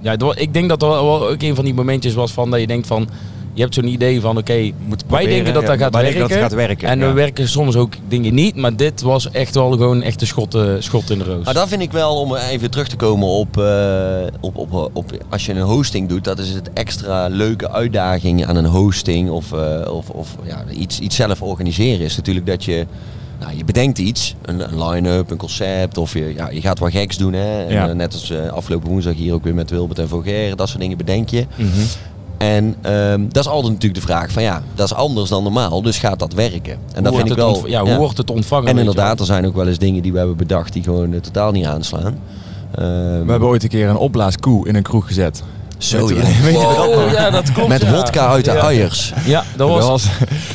Ja, het wa- ik denk dat er wel wel ook een van die momentjes was van dat je denkt van... Je hebt zo'n idee van, oké, wij
proberen,
denken dat
ja,
dat gaat
wij
werken.
denken dat het gaat werken,
En
ja.
we werken soms ook dingen niet. Maar dit was echt wel gewoon echt een schot, eh, schot in de roos.
Maar dat vind ik wel, om even terug te komen op, eh, op, op, op als je een hosting doet, dat is het extra leuke uitdaging aan een hosting of, eh, of, of ja, iets, iets zelf organiseren. Is natuurlijk dat je, nou, je bedenkt iets, een, een line-up, een concept of je, ja, je gaat wat geks doen. Hè? En,
Ja.
eh, net als eh, afgelopen woensdag hier ook weer met Wilbert en Voger, dat soort dingen bedenk je.
Mhm.
En ehm, dat is altijd natuurlijk de vraag van ja, dat is anders dan normaal, dus gaat dat werken? En dat
Hoe wordt
vind ik
het
wel.
ontv- ja, hoe wordt het ontvangen?
En
weet je
inderdaad, er zijn ook wel eens dingen die we hebben bedacht die gewoon eh, totaal niet aanslaan. Ehm,
We hebben ooit een keer een opblaaskoe in een kroeg gezet.
zo,
Weet
ja.
je- weet je
wel?
Wow.
Oh, ja, dat klopt.
Met
ja.
wodka uit de
Ja.
uiers.
Ja, dat was...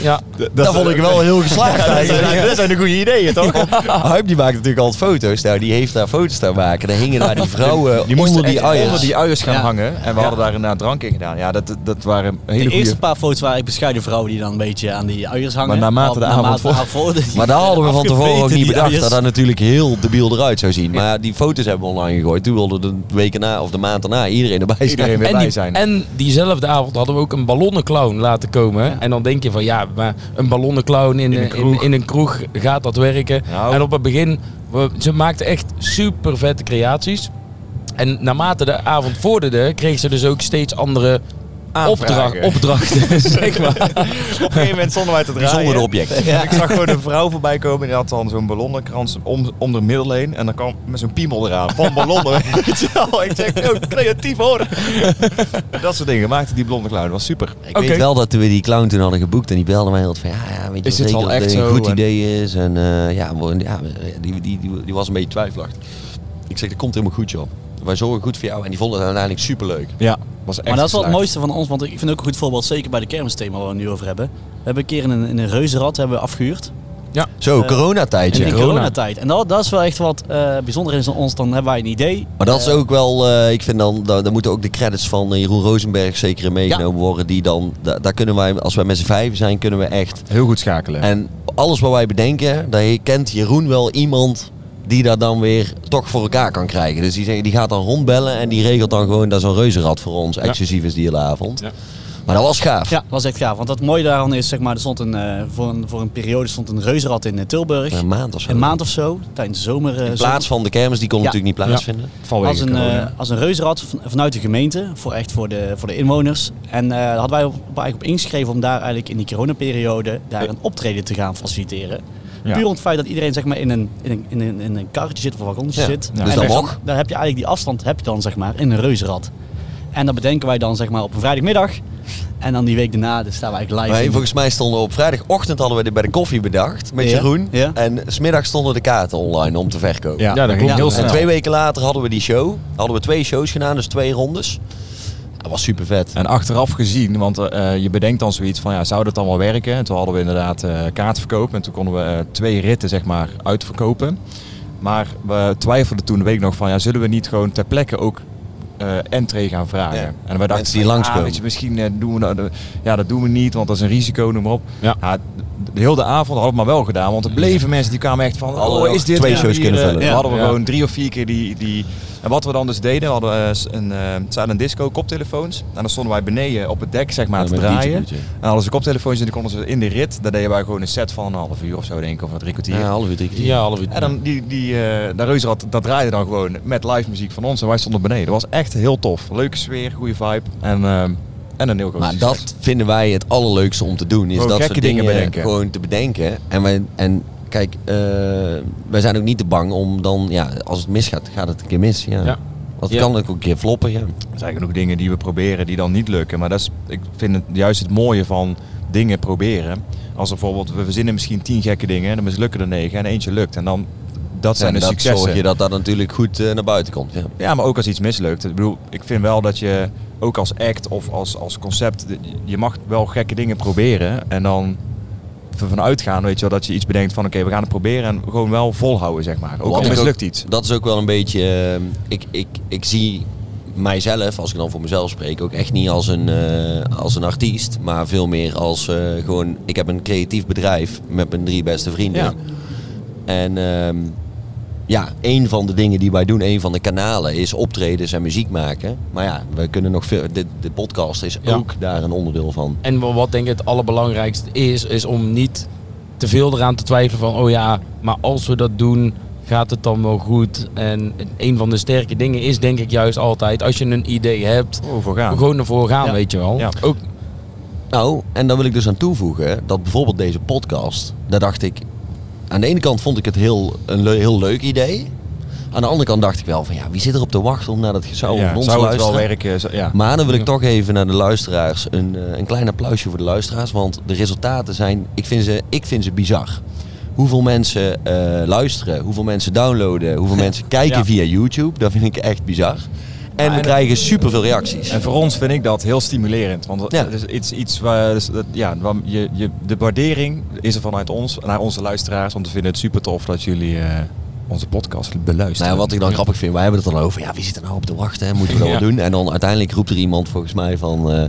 ja.
Dat vond ik wel heel geslaagd eigenlijk.
dat zijn de goede ideeën, toch?
Huip die maakt natuurlijk altijd foto's. Nou, die heeft daar foto's daar maken. Daar hingen daar die vrouwen
Die moesten
onder die
echt onder
uiers.
die uiers gaan
Ja.
hangen. En we hadden daar inderdaad drank in gedaan. Ja, dat, dat waren hele
De
goede...
eerste paar foto's waren ik bescheiden vrouwen die dan een beetje aan die uiers hangen.
Maar naarmate de avond
naarmate de
voor-
voordat die-
Maar daar hadden we van tevoren ook
afgebeten,
niet
die
bedacht
uiers.
dat dat natuurlijk heel debiel eruit zou zien. Maar die foto's hebben we online gegooid. Toen wilde de weken na of de maand daarna iedereen erbij zijn.
Iedereen weer
En,
bij
die,
zijn.
en diezelfde avond hadden we ook een ballonnenclown laten komen. En dan denk je van ja, maar een ballonnenclown in,
een
eh, in, in,
kroeg.
een kroeg gaat dat werken.
Nou.
En op het begin, we, ze maakten echt super vette creaties. En naarmate de avond vorderde, kreeg ze dus ook steeds andere opdracht, opdrachten. zeg maar.
Op een gegeven moment stonden wij te draaien.
Bijzondere objecten.
En ik zag gewoon een vrouw voorbij komen en die had dan zo'n ballonnenkrans om, om de middel heen. En dan kwam met zo'n piemel eraan van ballonnen. Weet je wel? ik zeg, yo, creatief hoor. dat soort dingen maakte die blonde clown. Dat was super.
Ik weet
Oké.
wel dat we die clown toen hadden geboekt en die belde mij altijd van ja, ja weet je
Is
wel zeker
dit wel
dat
echt
het een
zo?
goed
En-
idee is en eh, ja, we- ja we- die, die, die, die was een beetje twijfelachtig. Ik zeg, dat komt helemaal goed joh. Wij zorgen goed voor jou en die vonden het uiteindelijk superleuk.
Ja, was echt
Maar dat is wel het
geslaagd.
mooiste van ons, want ik vind ook een goed voorbeeld, zeker bij de kermisthema waar we het nu over hebben. We hebben een keer in een, in een reuzenrad hebben we afgehuurd.
Zo, coronatijdje.
In de
corona.
coronatijd. En dat, dat is wel echt wat eh, bijzonder is aan ons. Dan hebben wij een idee.
Maar dat is ook wel, eh, ik vind dan, daar, daar moeten ook de credits van eh, Jeroen Rosenberg zeker in meegenomen worden. Die dan, da- daar kunnen wij, als wij met z'n vijven zijn, kunnen we echt.
Heel goed schakelen.
En alles wat wij bedenken, daar kent Jeroen wel iemand die dat dan weer toch voor elkaar kan krijgen. Dus die, zegt- die gaat dan rondbellen en die regelt dan gewoon dat zo'n reuzenrad voor ons exclusief is die hele avond.
Ja.
Maar dat was gaaf.
Ja, dat was echt gaaf. Want het mooie daarvan is, zeg maar, er stond een, eh, voor, een, voor een periode stond een reuzenrad in eh, Tilburg.
Een maand of zo.
Een maand of zo, tijdens de zomer. eh,
In
zomer-
plaats van de kermis, die kon
Ja.
natuurlijk niet plaatsvinden.
Vanwege
als een,
corona.
eh, als een reuzenrad van- vanuit de gemeente, voor echt voor de, voor de inwoners. En eh, daar hadden wij op, op- eigenlijk op ingeschreven om daar eigenlijk in die coronaperiode daar een optreden te gaan faciliteren.
Ja.
Puur om het feit dat iedereen zeg maar, in, een, in, een, in, een, in een karretje zit of een wagonnetje
Ja.
zit.
Ja.
En
Dus dat
daar-
mag.
Daar heb je eigenlijk die afstand heb je dan, zeg maar, in een reuzenrad. En dat bedenken wij dan zeg maar, op een vrijdagmiddag. En dan die week daarna dus staan wij eigenlijk live.
Nee,
in-
volgens mij stonden we op vrijdagochtend hadden we dit bij de koffie bedacht met
Ja.
Jeroen.
Ja.
En smiddags stonden de kaarten online om te verkopen.
ja,
dat
dat
ging
ging heel
heel
En
snel.
twee weken later hadden we die show. Hadden we twee shows gedaan, dus twee rondes. Dat was super vet.
En achteraf gezien, want eh, je bedenkt dan zoiets van, ja, zou dat dan wel werken? En toen hadden we inderdaad eh, kaartverkoop en toen konden we eh, twee ritten zeg maar uitverkopen. Maar we twijfelden toen, weet ik nog, van ja, zullen we niet gewoon ter plekke ook eh entree gaan vragen?
Ja.
En we dachten
Mensen die
van,
langskomen.
ah, weet je, misschien eh, doen we dat, eh, ja, dat doen we niet, want dat is een risico, noem maar op.
Ja.
de- de hele avond hadden we het maar wel gedaan, want er bleven mensen die kwamen echt van,
Hadden we
oh, is dit
twee
weer
shows
hier,
kunnen
eh,
vullen.
we
Ja.
hadden we
Ja.
gewoon drie of vier keer die, die... En wat we dan dus deden, we hadden eh, s- een eh silent disco koptelefoons. En dan stonden wij beneden op het dek zeg maar
Ja,
te
met
draaien.
DJ.
En hadden ze koptelefoons en die konden ze in de rit. Daar deden wij gewoon een set van een half uur of zo denk ik, of een drie kwartier.
Ja, half uur, drie kwartier.
Ja, half uur.
En dan die, die eh, dat reuzenrad, dat draaide dan gewoon met live muziek van ons. En wij stonden beneden. Dat was echt heel tof. Leuke sfeer, goede vibe. En, ehm, en een heel groot
Maar
succes.
dat vinden wij het allerleukste om te doen. Is
Gewoon
dat
gekke
soort
dingen
dingen,
bedenken.
gewoon te bedenken. En, wij, en kijk, eh, wij zijn ook niet te bang om dan, ja, als het misgaat, gaat het een keer mis. Ja.
Ja.
Want het
Ja.
kan ook een keer floppen. Ja.
Er zijn genoeg dingen die we proberen die dan niet lukken. Maar dat is, ik vind het juist het mooie van dingen proberen. Als er bijvoorbeeld, we verzinnen misschien tien gekke dingen, dan mislukken er negen en eentje lukt. En dan, dat zijn
en
de
dat
successen.
zorg je dat dat natuurlijk goed eh, naar buiten komt. Ja.
Ja, maar ook als iets mislukt. Ik bedoel, ik vind wel dat je ook als act of als, als concept, je mag wel gekke dingen proberen. En dan ervan uitgaan, weet je wel, dat je iets bedenkt van oké, we gaan het proberen en gewoon wel volhouden, zeg maar. Ook
Wat
al
ik
mislukt iets.
Dat is ook wel een beetje. eh, ik, ik, ik zie mijzelf, als ik dan voor mezelf spreek, ook echt niet als een, eh, als een artiest, maar veel meer als eh, gewoon. Ik heb een creatief bedrijf met mijn drie beste vrienden.
Ja.
En ehm, ja, een van de dingen die wij doen, een van de kanalen, is optredens en muziek maken. Maar ja, we kunnen nog veel. De, de podcast is
Ja.
ook daar een onderdeel van.
En wa- wat denk ik het allerbelangrijkste is, is om niet te veel eraan te twijfelen van, oh ja, maar als we dat doen, gaat het dan wel goed. En een van de sterke dingen is denk ik juist altijd, als je een idee hebt,
Oh, voor gaan.
gewoon ervoor gaan,
Ja.
weet je wel.
Ja.
Ook,
Nou, en daar wil ik dus aan toevoegen dat bijvoorbeeld deze podcast, daar dacht ik, aan de ene kant vond ik het heel, een le- heel leuk idee. Aan de andere kant dacht ik wel van ja, wie zit er op te wachten om naar dat gezauw
Ja,
van ons te
zou het wel
luisteren?
werken? Zo- ja.
Maar dan wil ik toch even naar de luisteraars een, eh, een klein applausje voor de luisteraars. Want de resultaten zijn, ik vind ze, ik vind ze bizar. Hoeveel mensen eh, luisteren, hoeveel mensen downloaden, hoeveel mensen kijken
Ja.
via YouTube. Dat vind ik echt bizar. En we
en-
krijgen superveel reacties.
En voor ons vind ik dat heel stimulerend. Want
Ja.
het is iets, iets waar, dus dat- ja, waar je, je, de waardering is er vanuit ons naar onze luisteraars. Want we vinden het super tof dat jullie eh, onze podcast beluisteren.
Nou, ja, wat ik dan grappig vind, wij hebben het dan over, ja, wie zit er nou op te wachten, hè? moeten we dat
Ja.
wel doen? En dan uiteindelijk roept er iemand volgens mij van, eh,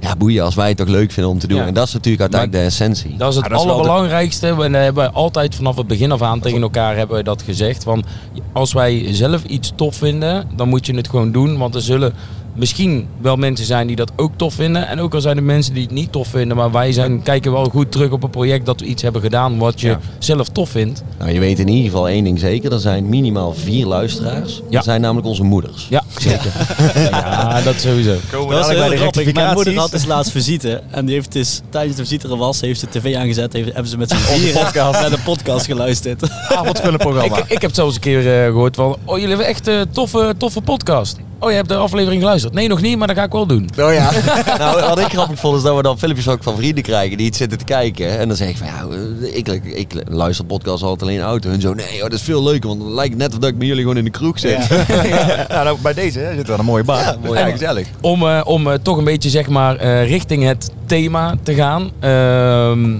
ja boeien, als wij het toch leuk vinden om te doen.
Ja.
En dat is natuurlijk uiteindelijk de essentie.
dat is het
Ja, dat is wel de-
allerbelangrijkste. En dat hebben wij altijd vanaf het begin af aan tegen elkaar hebben we dat gezegd. Want als wij zelf iets tof vinden, dan moet je het gewoon doen. Want er zullen misschien wel mensen zijn die dat ook tof vinden. En ook al zijn er mensen die het niet tof vinden. Maar wij zijn, kijken wel goed terug op een project dat we iets hebben gedaan wat je
Ja.
zelf tof vindt.
Nou, je weet in ieder geval één ding zeker, er zijn minimaal vier luisteraars.
Ja.
Dat zijn namelijk onze moeders.
Ja, zeker. Ja, dat sowieso.
Komen
Dat is heel grappig. Mijn moeder had
rectificaties.
dus laatst visite. En die heeft dus, tijdens de visite er was, heeft ze de tv aangezet. Heeft, hebben ze met z'n vieren naar de podcast geluisterd.
avondvullenprogramma.
Ik, ik heb zelfs een keer eh, gehoord van, oh jullie hebben echt een toffe, toffe podcast. Oh, je hebt de aflevering geluisterd. Nee, nog niet, maar dat ga ik wel doen.
Oh ja. nou, wat ik grappig vond is dat we dan filmpjes ook van vrienden krijgen die iets zitten te kijken. En dan zeg ik van ja, eh, ik, ik luister podcasts altijd alleen in de auto. En zo, nee, joh, dat is veel leuker, want het lijkt net of dat ik met jullie gewoon in de kroeg zit.
Ja, nou, bij deze hè, zit wel een mooie baan.
Ja, mooi.
Ja, gezellig.
Om, eh, om eh, toch een beetje zeg maar eh, richting het thema te gaan. Ehm,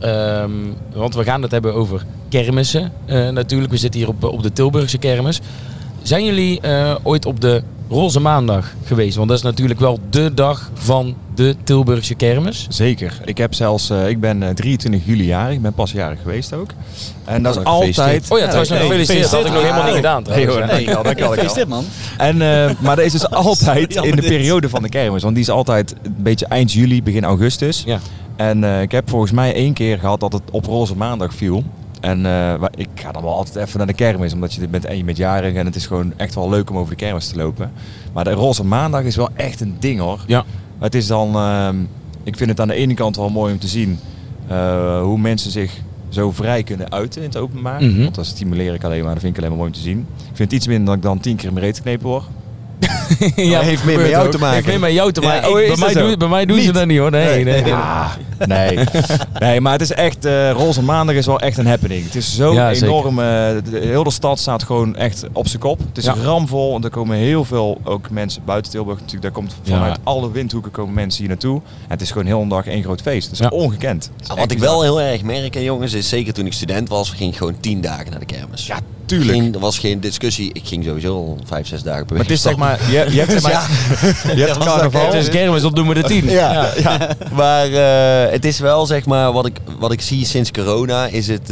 ehm, want we gaan het hebben over kermissen. Eh, natuurlijk, we zitten hier op, eh, op de Tilburgse kermis. Zijn jullie eh, ooit op de Roze Maandag geweest? Want dat is natuurlijk wel de dag van de Tilburgse kermis.
Zeker. Ik, heb zelfs, eh, ik ben eh, 23 juli jarig. Ik ben pas jarig geweest ook. En dat is
Nou,
altijd...
gefeliciteerd.
Oh ja, trouwens, nog
hey,
gefeliciteerd. Dat had ik nog helemaal niet gedaan
Nee
trouwens.
hoor, dankjewel, dankjewel, dankjewel.
Gefeliciteerd man.
En, eh, maar dat is dus altijd
jammer
in de
dit.
periode van de kermis. Want die is altijd een beetje eind juli, begin augustus.
Ja.
En eh, ik heb volgens mij één keer gehad dat het op roze maandag viel. En eh, wa- ik ga dan wel altijd even naar de kermis, omdat je dit bent en je bent jarig en het is gewoon echt wel leuk om over de kermis te lopen. Maar de roze maandag is wel echt een ding hoor.
Ja.
Het is dan, ehm, ik vind het aan de ene kant wel mooi om te zien eh, hoe mensen zich zo vrij kunnen uiten in het openbaar.
Mhm.
Want dat stimuleer ik alleen maar, dat vind ik alleen maar mooi om te zien. Ik vind het iets minder dat ik dan tien keer in mijn reet geknepen word.
ja,
heeft meer
gebeurt
met jou
ook.
te maken.
Heeft meer met jou te
Ja,
maken.
oh,
Ik-
is
bij,
dat
mij
zo?
doen, bij mij doen ze
Niet.
dat niet hoor. Nee, nee, nee.
Nee. nee, maar het is echt, eh Roze Maandag is wel echt een happening. Het is zo
Ja, zeker.
enorm, eh, de- de- heel de stad staat gewoon echt op zijn kop. Het is
Ja.
ramvol en er komen heel veel ook mensen buiten Tilburg natuurlijk. Daar komt vanuit
Ja.
alle windhoeken komen mensen hier naartoe. En het is gewoon heel een dag één groot feest. Het is
Ja.
ongekend. Het is
Ja,
echt
Wat ik
bizar.
wel heel erg merk, hè, jongens, is zeker toen ik student was, ging ik gewoon tien dagen naar de kermis.
Ja, tuurlijk.
Geen- er was geen discussie. Ik ging sowieso al vijf, zes dagen per week.
Maar het is zeg maar, je, je hebt zeg maar, je hebt
Ja, was
carnaval.
dat-
Het is kermis, dan doen we de tien.
Ja, ja. maar eh, het is wel zeg maar wat ik, wat ik zie sinds corona is het. eh,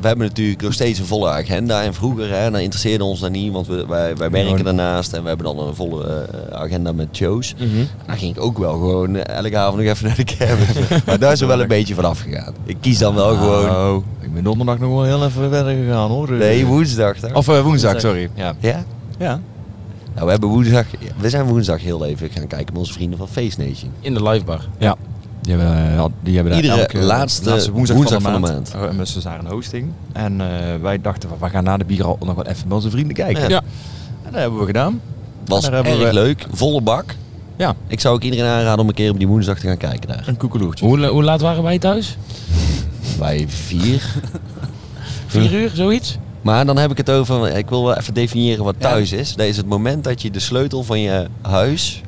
we hebben natuurlijk nog steeds een volle agenda. En vroeger hè, dan interesseerde ons dat niet, want we, wij, wij werken daarnaast en we hebben dan een volle eh, agenda met shows.
Mhm.
Dan ging ik ook wel gewoon eh, elke avond nog even naar de kermis. maar daar is er wel een beetje van afgegaan. Ik kies dan wel gewoon.
Oh, ik ben donderdag nog wel heel even verder gegaan hoor.
Nee, woensdag. Toch?
Of eh, woensdag, sorry. Ja.
ja?
ja.
Nou, we, hebben woensdag, we zijn woensdag heel even gaan kijken met onze vrienden van Face Nation.
In de livebar.
Ja. Die hebben, eh, al- die hebben daar
Iedere
elke
laatste
woensdag,
woensdag
van de
van de
maand. Eh, Mensen daar een hosting. En eh, wij dachten, van, we gaan na de bier al nog wel even met onze vrienden kijken.
Ja.
Ja.
En dat hebben we gedaan.
Was
Daar hebben
erg
we-
leuk, volle bak.
Ja.
Ik zou ook iedereen aanraden om een keer op die woensdag te gaan kijken daar.
Een koekeloertje.
Hoe, la- hoe laat waren wij thuis?
Bij vier.
Vier uur, zoiets?
Maar dan heb ik het over, ik wil wel even definiëren wat thuis is. Dat is het moment dat je de sleutel van je huis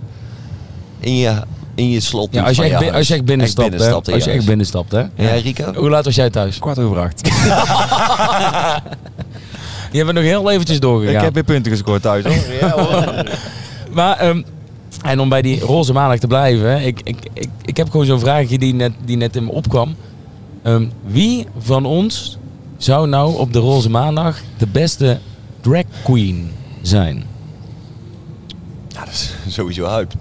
in je, in je slot
Ja,
doet
als je
van
echt,
oh je
bi-
huis.
als je echt binnenstapt, hè?
binnenstapt in
Als je echt Oh,
huis.
binnenstapt, hè?
Ja, Rico?
Hoe laat was jij thuis?
Kwart over acht.
Je bent nog heel eventjes doorgegaan.
Ik heb weer punten gescoord thuis hoor.
Maar, ehm, en om bij die roze maandag te blijven, hè, ik, ik, ik, ik heb gewoon zo'n vraagje die net, die net in me opkwam. Ehm, wie van ons zou nou op de roze maandag de beste drag queen zijn?
Ja, dat is sowieso uit.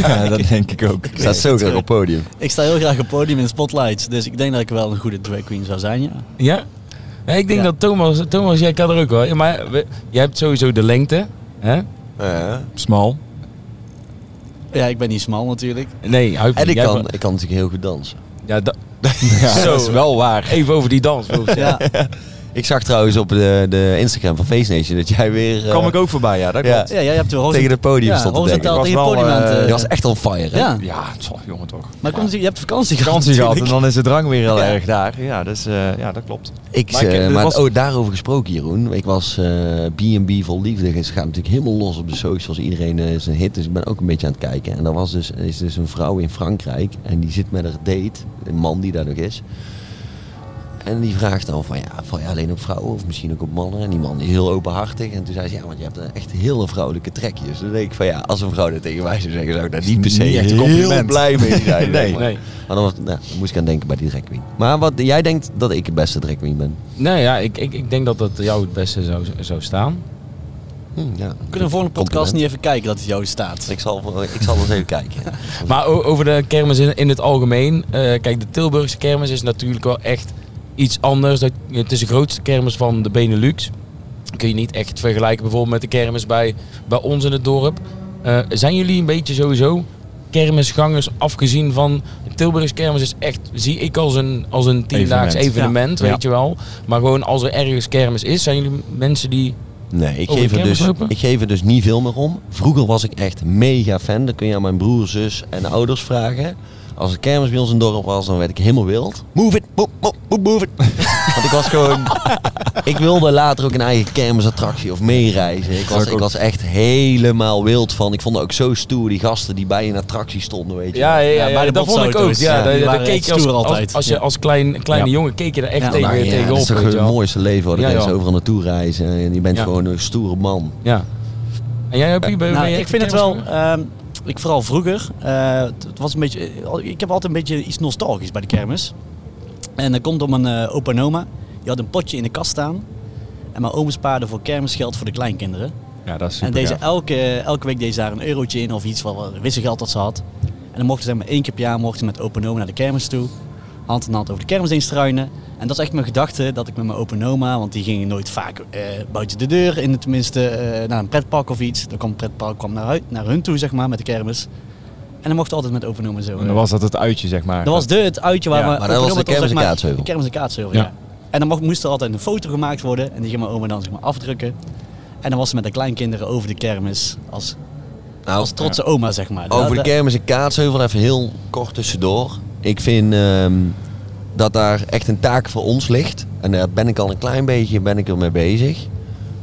ja, dat denk ik ook.
Staat zo graag op het podium.
Ik sta heel graag op het podium in spotlights, dus ik denk dat ik wel een goede drag queen zou zijn, ja.
Ja? Ja, ik denk
Ja.
dat Thomas, Thomas, jij kan er ook wel. Ja, maar we- jij hebt sowieso de lengte. Hè?
Ja.
Smal.
Ja, ik ben niet smal natuurlijk.
Nee, Huip,
En ik
jij
kan,
hebt-
ik kan natuurlijk heel goed dansen.
Ja, da-
Ja,
Zo.
dat is wel waar.
even over die dans. wil ik zeggen.
Ja,
Ik zag trouwens op de, de Instagram van Face Nation dat jij weer eh,
Kom ik ook voorbij, ja. Dat
Ja.
klopt.
ja jij hebt de horizon-
tegen het podium
ja,
stond te denken.
horizontaal
Ik was
tegen het
wel,
podium aan het,
eh,
eh,
Je was echt on fire, hè?
Ja,
Ja, het zal jongen toch.
maar komt, je hebt vakantie gehad
Vakantie gehad en
natuurlijk.
dan is de drang weer heel
Ja.
erg daar. Ja, dus, eh, ja, dat klopt.
Ik,
Maar ik-
eh,
dit
maar
was-
oh, daarover gesproken, Jeroen. Ik was eh, B&B vol liefde. Ze gaan natuurlijk helemaal los op de socials. Iedereen eh, is een hit, dus ik ben ook een beetje aan het kijken. En er was dus, er is dus een vrouw in Frankrijk en die zit met haar date, een man die daar nog is. En die vraagt dan van ja, val je alleen op vrouwen of misschien ook op mannen? En die man is heel openhartig. En toen zei ze ja, want je hebt eh, echt hele vrouwelijke trekjes. Toen denk ik van ja, als een vrouw dat tegen mij zou zeggen, zou ik daar niet per se
Niet echt een
heel
compliment.
blij mee zijn.
Nee.
zeg maar.
Nee.
Maar dan was, nou, daar moest ik aan denken bij die drag queen. Maar wat, jij denkt dat ik de beste drag queen ben?
Nou ja, ik, ik, ik denk dat dat jou het beste zou, zou staan.
Hm, ja.
Kunnen we voor een podcast
Compliment.
niet even kijken dat het jou staat?
Ik zal, ik zal eens even kijken.
Maar o- over de kermis in, in het algemeen. eh, kijk, de Tilburgse kermis is natuurlijk wel echt iets anders. Dat, het is de grootste kermis van de Benelux. Kun je niet echt vergelijken bijvoorbeeld met de kermis bij, bij ons in het dorp. Eh, zijn jullie een beetje sowieso kermisgangers afgezien van... de Tilburgse kermis is echt, zie ik als een, als een tiendaags
Evenement.
evenement,
Ja.
weet je wel. Maar gewoon als er ergens kermis is, zijn jullie mensen die...
Nee, ik
Oh,
geef,
de
er dus,
kermislopen?
ik geef er dus niet veel meer om. Vroeger was ik echt mega fan. Dan kun je aan mijn broer, zus en ouders vragen. Als er kermis bij ons in het dorp was, dan werd ik helemaal wild. Move it, move, move, move, move it. Want ik was gewoon... ik wilde later ook een eigen kermisattractie of meereizen. Ik was, ik was echt helemaal wild van. Ik vond het ook zo stoer, die gasten die bij een attractie stonden, weet je.
Ja, ja, ja,
Ja, bij de
dat vond ik ook.
botshouto's.
Ja,
Ja,
daar-
die
daar
waren
keek
echt
je als,
stoer
als,
altijd.
als je
Ja.
als klein, kleine
Ja.
jongen keek je er echt
Ja,
tegen,
Nou, ja,
tegenop.
dat is toch
weet je
het
wel.
mooiste leven. Hoor. Dan
Ja,
kan je
joh.
overal naartoe reizen. En je bent
Ja.
gewoon een stoere man.
Ja. En jij, Pie, ben, ben
Nou,
jij
ik vind het wel.
kermisganger?
ehm, ik vooral vroeger. eh, het het was een beetje. eh, Ik heb altijd een beetje iets nostalgisch bij de kermis. En dat komt om een eh opa en oma. Die had een potje in de kast staan. En mijn oom spaarde voor kermisgeld voor de kleinkinderen.
Ja, dat is
en
super
deze,
gaaf.
elke, elke week deed ze daar een eurotje in of iets van wel wisselgeld dat ze had. En dan mochten ze maar één keer per jaar mochten ze met opa en oma naar de kermis toe. Hand in hand over de kermis heen struinen. En dat is echt mijn gedachte dat ik met mijn opa en oma, want die gingen nooit vaak eh, buiten de deur, in het tenminste eh, naar een pretpark of iets. Dan kwam het pretpark kwam naar, hui- naar hun toe, zeg maar, met de kermis. En dan mochten we altijd met opa en oma zo. eh,
En dan was dat het uitje, zeg maar.
dat was de, het uitje waar
Ja,
we
maar dat
opa en
was
oma
de
toch, zeg
kermis in
maar,
Kaatsheuvel.
De kermis in Kaatsheuvel,
Ja.
ja. En dan mocht, moest er altijd een foto gemaakt worden en die ging mijn oma dan zeg maar afdrukken. En dan was ze met de kleinkinderen over de kermis als,
Nou,
als trotse oma, zeg maar.
Nou,
Over de
Da- da-
kermis en Kaatsheuvel, even heel kort tussendoor. Ik vind ehm, dat daar echt een taak voor ons ligt. En daar ben ik al een klein beetje ben ik ermee bezig.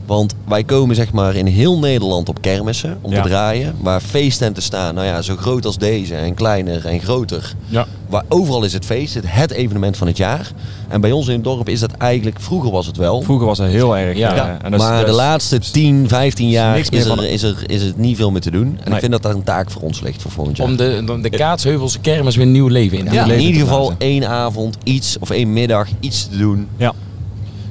Want wij komen zeg maar in heel Nederland op kermissen om
Ja.
te draaien. Waar feesttenten staan, nou ja, zo groot als deze en kleiner en groter.
Ja.
Waar overal is het feest, het, het evenement van het jaar. En bij ons in het dorp is dat eigenlijk, vroeger was het wel.
Vroeger was dat heel erg.
Ja.
eh,
Ja.
en dat is-
maar
dat
de
is-
laatste 10, 15 jaar
niks
is,
meer van
er,
de-
is, er, is het niet veel meer te doen. En
Nee.
ik vind dat daar een taak voor ons ligt voor volgend jaar.
Om de, om de Kaatsheuvelsen kermis weer nieuw leven in te
Ja,
blazen.
in ieder
te
geval
blazen.
één avond iets of één middag iets te doen.
Ja.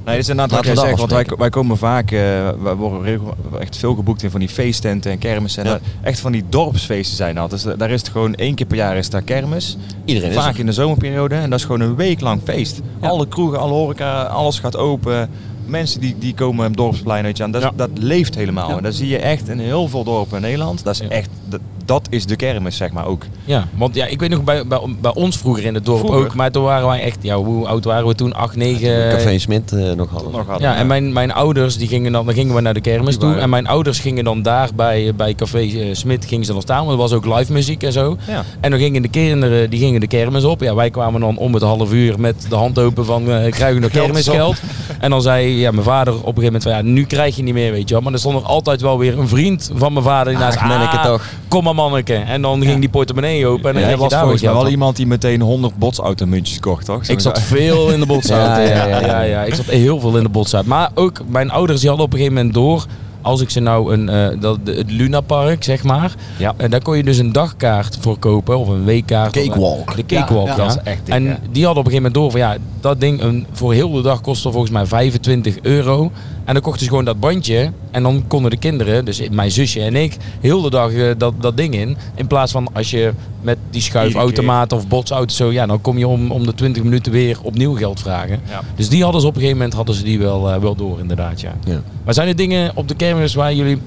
Nee, dit is inderdaad wat
Laten
jij
we dat
zegt, want wij,
afspreken.
wij komen vaak, eh, wij worden regel- echt veel geboekt in van die feesttenten en kermissen. En
Ja.
dat- echt van die dorpsfeesten zijn dat. Dus da- daar is het gewoon één keer per jaar is daar kermis.
Iedereen is
vaak
er.
in de zomerperiode en dat is gewoon een week lang feest. Alle kroegen, alle horeca, alles gaat open. Mensen die, die komen het dorpsplein uit je aan. Dat,
Ja.
dat leeft helemaal. En dat zie je echt in heel veel dorpen in Nederland. Dat is
Ja.
echt, dat, dat is de kermis zeg maar ook.
Ja, want ja, ik weet nog bij, bij, bij ons vroeger in het dorp
Vroeger?
ook, maar toen waren wij echt, ja, hoe oud waren we toen? 8, 9.
Café Smit eh, nog hadden.
Nog hadden
Ja,
we-
en mijn, mijn ouders die gingen dan, dan gingen we naar de kermis
Die
toe.
waren-
En mijn ouders gingen dan daar bij, bij Café eh, Smit gingen ze dan staan, want er was ook live muziek en zo.
Ja.
En dan gingen de kinderen die gingen de kermis op. Ja, wij kwamen dan om het half uur met de hand open van eh krijgen we nog
Geld is op.
kermisgeld. En dan zei ja, mijn vader op een gegeven moment van ja, nu krijg je niet meer, weet je wel. Maar er stond nog altijd wel weer een vriend van mijn vader die naast
Ach, manneke
"Ah,
toch."
Kom maar manneke. En dan ging die portemonnee open en dan
Jij
kreeg je
was
daar
volgens
wat
mij
geld op.
wel iemand die meteen 100 botsautomuntjes kocht, toch?
Ik zat veel in de botsauto.
Ja,
ja,
ja,
ja,
ja,
ja,
ja.
Ik zat heel veel in de botsauto. Maar ook mijn ouders die hadden op een gegeven moment door. Als ik ze nou een, eh, dat, de- het Lunapark, zeg maar.
Ja.
En daar kon je dus een dagkaart voor kopen. Of een weekkaart.
Cakewalk.
De cakewalk,
Ja,
ja.
ja. Dat
is echt dik,
en
ja.
die hadden op een gegeven moment door van ja, dat ding een, voor heel de dag kostte volgens mij 25 euro. En dan kochten ze gewoon dat bandje. En dan konden de kinderen, dus mijn zusje en ik, heel de dag eh, dat, dat ding in. In plaats van als je met die schuifautomaat of botsauto zo, ja, dan kom je om, om de 20 minuten weer opnieuw geld vragen.
Ja.
Dus die hadden ze op een gegeven moment hadden ze die wel, eh, wel door, inderdaad. Ja.
Ja.
Maar zijn er dingen op de kermis waar jullie.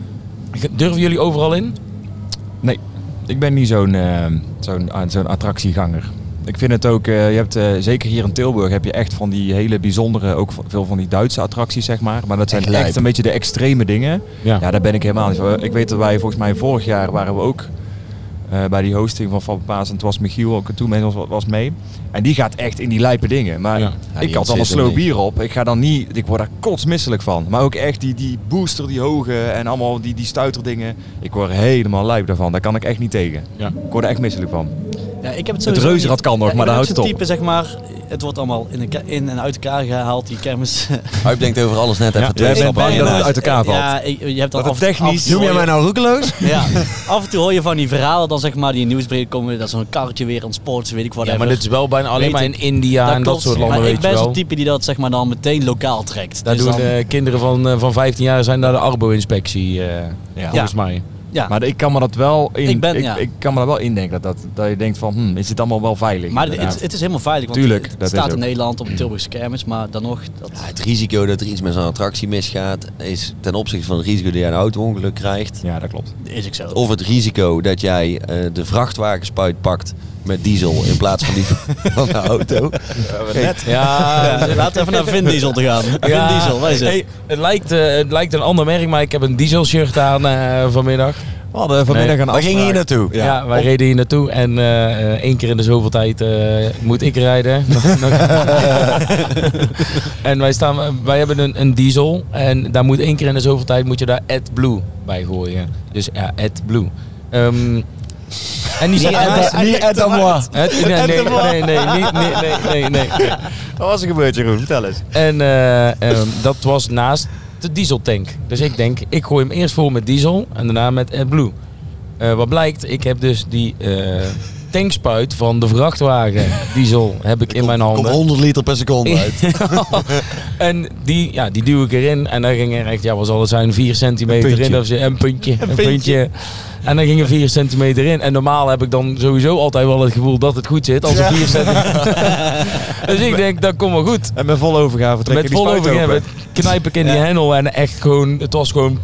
Durven jullie overal in?
Nee, ik ben niet zo'n eh, zo'n ah, zo'n attractieganger. Ik vind het ook, eh, je hebt eh, zeker hier in Tilburg heb je echt van die hele bijzondere, ook v- veel van die Duitse attracties zeg maar. Maar dat zijn
Echt
echt,
lijp.
een beetje de extreme dingen.
Ja.
daar ben ik helemaal niet van. Ik weet dat wij volgens mij vorig jaar waren we ook eh, bij die hosting van Fabio Paas. En toen was Michiel ook toen met ons was mee. En die gaat echt in die lijpe dingen. Maar
Ja.
Nou,
Ja, die
ik had dan een
ontzet
slow
hem niet.
bier op. Ik ga dan niet, ik word daar kotsmisselijk van. Maar ook echt die, die booster, die hoge en allemaal die, die stuiterdingen. Ik word helemaal lijp daarvan. Daar kan ik echt niet tegen.
Ja.
Ik word er echt misselijk van.
Ja, ik heb het,
Het
sowieso
reuzenrad
niet.
kan nog,
Ja, ik
maar
ben
daar
ook
houdt
zo'n
het op.
type, zeg maar, het wordt allemaal in, elka- in en uit elkaar gehaald, die kermis.
Huip denkt over alles net even
Ja,
twee
jij bent
stappen
bang
aan.
dat
Ja.
het uit elkaar valt.
Ja, ik- je hebt dan
Dat het
af- af en toe
technisch-
hoor
Noem jij
je-
mij nou roekeloos?
Ja, af en toe hoor je van die verhalen dan zeg maar die in nieuwsbrieven komen dat zo'n karretje weer ontsports, weet ik wat.
Ja, maar dit is wel bijna alleen
Weet
maar in
ik.
India en dat soort landen.
Maar
weet
ik ben
je wel.
zo'n type die dat zeg maar dan meteen lokaal trekt.
Daar
Dus
doen
dan-
eh, kinderen van, eh, van 15 jaar zijn daar de arbo-inspectie, eh, volgens mij.
ja.
Maar ik kan me dat wel in,
Ik
ik
ben- ja.
ik kan me dat wel indenken. Dat, dat, dat je denkt van, hm, is dit allemaal wel veilig?
Maar het,
inderdaad.
het, het is helemaal veilig, want
Tuurlijk,
het
dat
staat
is
in
ook.
Nederland op de Tilburgse kermis, maar dan nog... Dat,
Ja, het risico dat er iets met zo'n attractie misgaat is ten opzichte van het risico dat jij een auto-ongeluk krijgt.
Ja, dat klopt.
is ik zo.
Of het risico dat jij eh, de vrachtwagenspuit pakt met diesel in plaats van die van de auto. Kijk,
Ja,
Ja, laten we even naar Vin Diesel te gaan.
ja.
Vin Diesel, wij zijn.
Hey, het, lijkt, eh, het lijkt een ander merk, maar ik heb een diesel shirt aan eh, vanmiddag.
We hadden vanmiddag
Nee.
een
Waar ging je hier
afspraak.
naartoe?
Ja, wij
op-
reden hier naartoe en eh, eh, één keer in de zoveel tijd eh, moet ik rijden. en wij, staan, wij hebben een, een diesel en daar moet één keer in de zoveel tijd moet je daar AdBlue bij gooien. Dus ja, AdBlue. Ehm en die staat-
Niet et à moi.
Het- nee, nee, nee, nee, nee, nee, nee, nee, nee.
Oh, Wat was er gebeurd, Jeroen? Vertel eens.
En eh, ehm, dat was naast de dieseltank. Dus ik denk, ik gooi hem eerst vol met diesel en daarna met AdBlue. Eh wat blijkt, ik heb dus die eh, tankspuit van de vrachtwagen diesel heb ik in mijn
Komt
handen.
100 liter per seconde uit.
en die, ja, die duw ik erin. En dan ging er echt, ja, wat zal het zijn, 4
Een
centimeter
puntje.
in. Of zo, een puntje, een,
puntje.
puntje. En dan ging er 4 centimeter in. En normaal heb ik dan sowieso altijd wel het gevoel dat het goed zit. Als er 4 centimeter. dus ik denk, dat komt wel goed.
En met volle overgave trekken
Met
die
vol
spuit
overgeven
open.
knijp ik in die
Ja.
hendel en echt gewoon, het was gewoon,